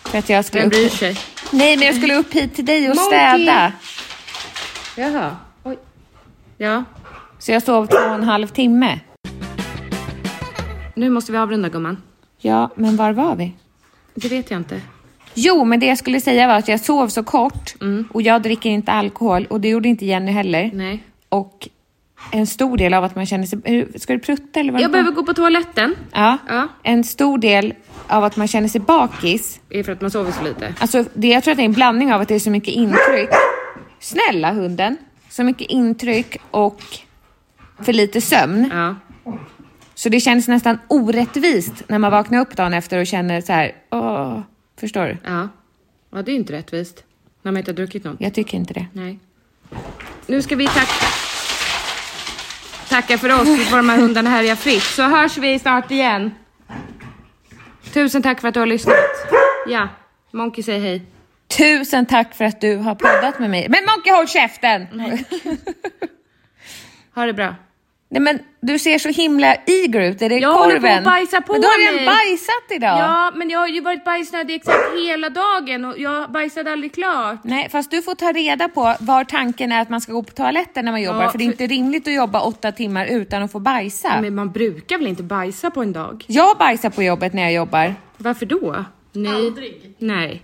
Speaker 2: För att jag skulle
Speaker 1: vem bryr
Speaker 2: upp...
Speaker 1: sig?
Speaker 2: Nej, men jag skulle upp hit till dig och
Speaker 1: Monkey!
Speaker 2: städa.
Speaker 1: Jaha. Oj. Ja,
Speaker 2: Så jag sov två och en halv timme.
Speaker 1: nu måste vi avrunda gumman.
Speaker 2: Ja, men var var vi?
Speaker 1: Det vet jag inte.
Speaker 2: Jo, men det jag skulle säga var att jag sov så kort och jag dricker inte alkohol och det gjorde inte Jenny heller.
Speaker 1: Mm. Nej.
Speaker 2: Och en stor del av att man känner sig... hur- Ska du prutta eller vad
Speaker 1: Jag
Speaker 2: det var?
Speaker 1: behöver gå på toaletten.
Speaker 2: Ja.
Speaker 1: Ja.
Speaker 2: En stor del av att man känner sig bakis.
Speaker 1: Det är för att man sover så lite.
Speaker 2: Alltså, det, jag tror att det är en blandning av att det är så mycket intryck. Snälla hunden. Så mycket intryck och för lite sömn.
Speaker 1: Ja.
Speaker 2: Så det känns nästan orättvist när man vaknar upp dagen efter och känner så här, åh, förstår du?
Speaker 1: Ja. Ja, det är inte rättvist. När man inte har druckit något.
Speaker 2: Jag tycker inte det.
Speaker 1: Nej. Nu ska vi tack... tackar för oss. Vi var de här hundarna härja fritt. Så hörs vi snart igen. Tusen tack för att du har lyssnat. Ja, Monkey säger hej.
Speaker 2: Tusen tack för att du har poddat med mig. Men Monkey håll käften! Nej.
Speaker 1: Ha det bra.
Speaker 2: Nej men du ser så himla eager ut. Är det
Speaker 1: Jag håller
Speaker 2: korven?
Speaker 1: på att bajsa på
Speaker 2: men du har redan
Speaker 1: mig.
Speaker 2: bajsat idag.
Speaker 1: Ja, men jag har ju varit bajsnödig exakt hela dagen och jag bajsade aldrig klart.
Speaker 2: Nej, fast du får ta reda på var tanken är att man ska gå på toaletten när man jobbar. för det är
Speaker 1: för-
Speaker 2: inte rimligt att jobba åtta timmar utan att få bajsa.
Speaker 1: Men man brukar väl inte bajsa på en dag?
Speaker 2: Jag bajsar på jobbet när jag jobbar.
Speaker 1: Varför då? Nej. Aldrig. Nej,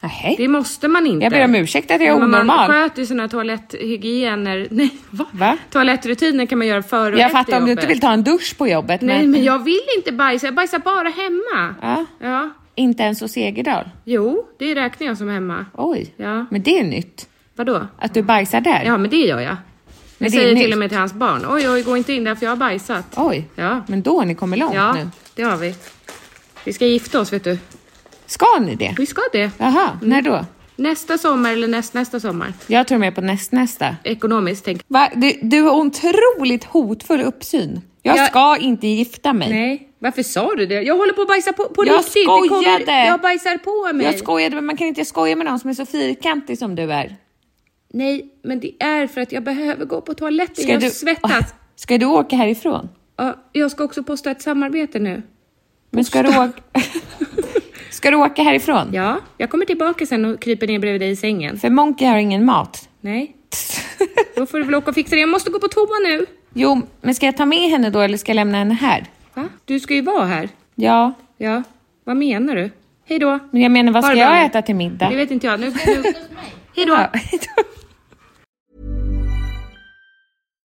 Speaker 2: Nej.
Speaker 1: det måste man inte.
Speaker 2: Jag ber om ursäkt att jag är
Speaker 1: Men Man
Speaker 2: onormal.
Speaker 1: sköter ju sina toaletthygiener. [laughs] Nej, va?
Speaker 2: Va?
Speaker 1: Toalettrutiner kan man göra före och
Speaker 2: Jag
Speaker 1: efter
Speaker 2: fattar om du inte
Speaker 1: jobbet.
Speaker 2: vill ta en dusch på jobbet,
Speaker 1: Nej,
Speaker 2: men,
Speaker 1: men jag vill inte bajsa. Jag bajsar bara hemma.
Speaker 2: Ja.
Speaker 1: ja.
Speaker 2: inte ens hos Segerdal.
Speaker 1: Jo, det räknar jag som hemma.
Speaker 2: Oj,
Speaker 1: Ja.
Speaker 2: men det är nytt.
Speaker 1: Vadå?
Speaker 2: Att du bajsar där.
Speaker 1: Ja, men det gör jag. Jag
Speaker 2: Men det är
Speaker 1: säger
Speaker 2: nytt.
Speaker 1: till och med till hans barn. Oj, oj, gå inte in där för jag har bajsat.
Speaker 2: Oj,
Speaker 1: Ja.
Speaker 2: men då har ni kommit långt
Speaker 1: Ja,
Speaker 2: nu.
Speaker 1: det har vi. Vi ska gifta oss, vet du.
Speaker 2: Ska ni det?
Speaker 1: Vi ska det.
Speaker 2: Jaha,
Speaker 1: Mm.
Speaker 2: när då?
Speaker 1: Nästa sommar eller nästnästa sommar.
Speaker 2: Jag tror med på nästnästa.
Speaker 1: Ekonomiskt, tänk.
Speaker 2: Va? Du, du har otroligt hotfull uppsyn. Jag,
Speaker 1: Jag-
Speaker 2: ska inte gifta mig.
Speaker 1: Nej, varför sa du det? Jag håller på att bajsa på, på
Speaker 2: Jag
Speaker 1: riktigt. Det kommer-
Speaker 2: skojade.
Speaker 1: Jag bajsar på mig.
Speaker 2: Jag skojade, men man kan inte skoja med någon som är så fyrkantig som du är.
Speaker 1: Nej, men det är för att jag behöver gå på toaletten. jag
Speaker 2: du...
Speaker 1: svettas.
Speaker 2: [laughs] Ska du åka härifrån?
Speaker 1: Ja, jag ska också posta ett samarbete nu.
Speaker 2: Men ska
Speaker 1: [laughs]
Speaker 2: du åka... ska du åka härifrån?
Speaker 1: Ja, jag kommer tillbaka sen och kryper ner bredvid dig i sängen.
Speaker 2: För Monkey har
Speaker 1: [laughs]
Speaker 2: ingen mat.
Speaker 1: Nej, då får du väl åka och fixa det. Jag måste gå på toa nu.
Speaker 2: jo, men ska jag ta med henne då eller ska jag lämna henne här?
Speaker 1: Va? Du ska ju vara här.
Speaker 2: Ja,
Speaker 1: Ja, vad menar du? Hej då.
Speaker 2: men jag menar vad
Speaker 1: Ha
Speaker 2: ska
Speaker 1: det bra
Speaker 2: jag
Speaker 1: nu.
Speaker 2: äta till middag?
Speaker 1: Det vet inte jag. Nu, nu.
Speaker 2: [laughs]
Speaker 1: Hej då.
Speaker 2: Ja. [laughs]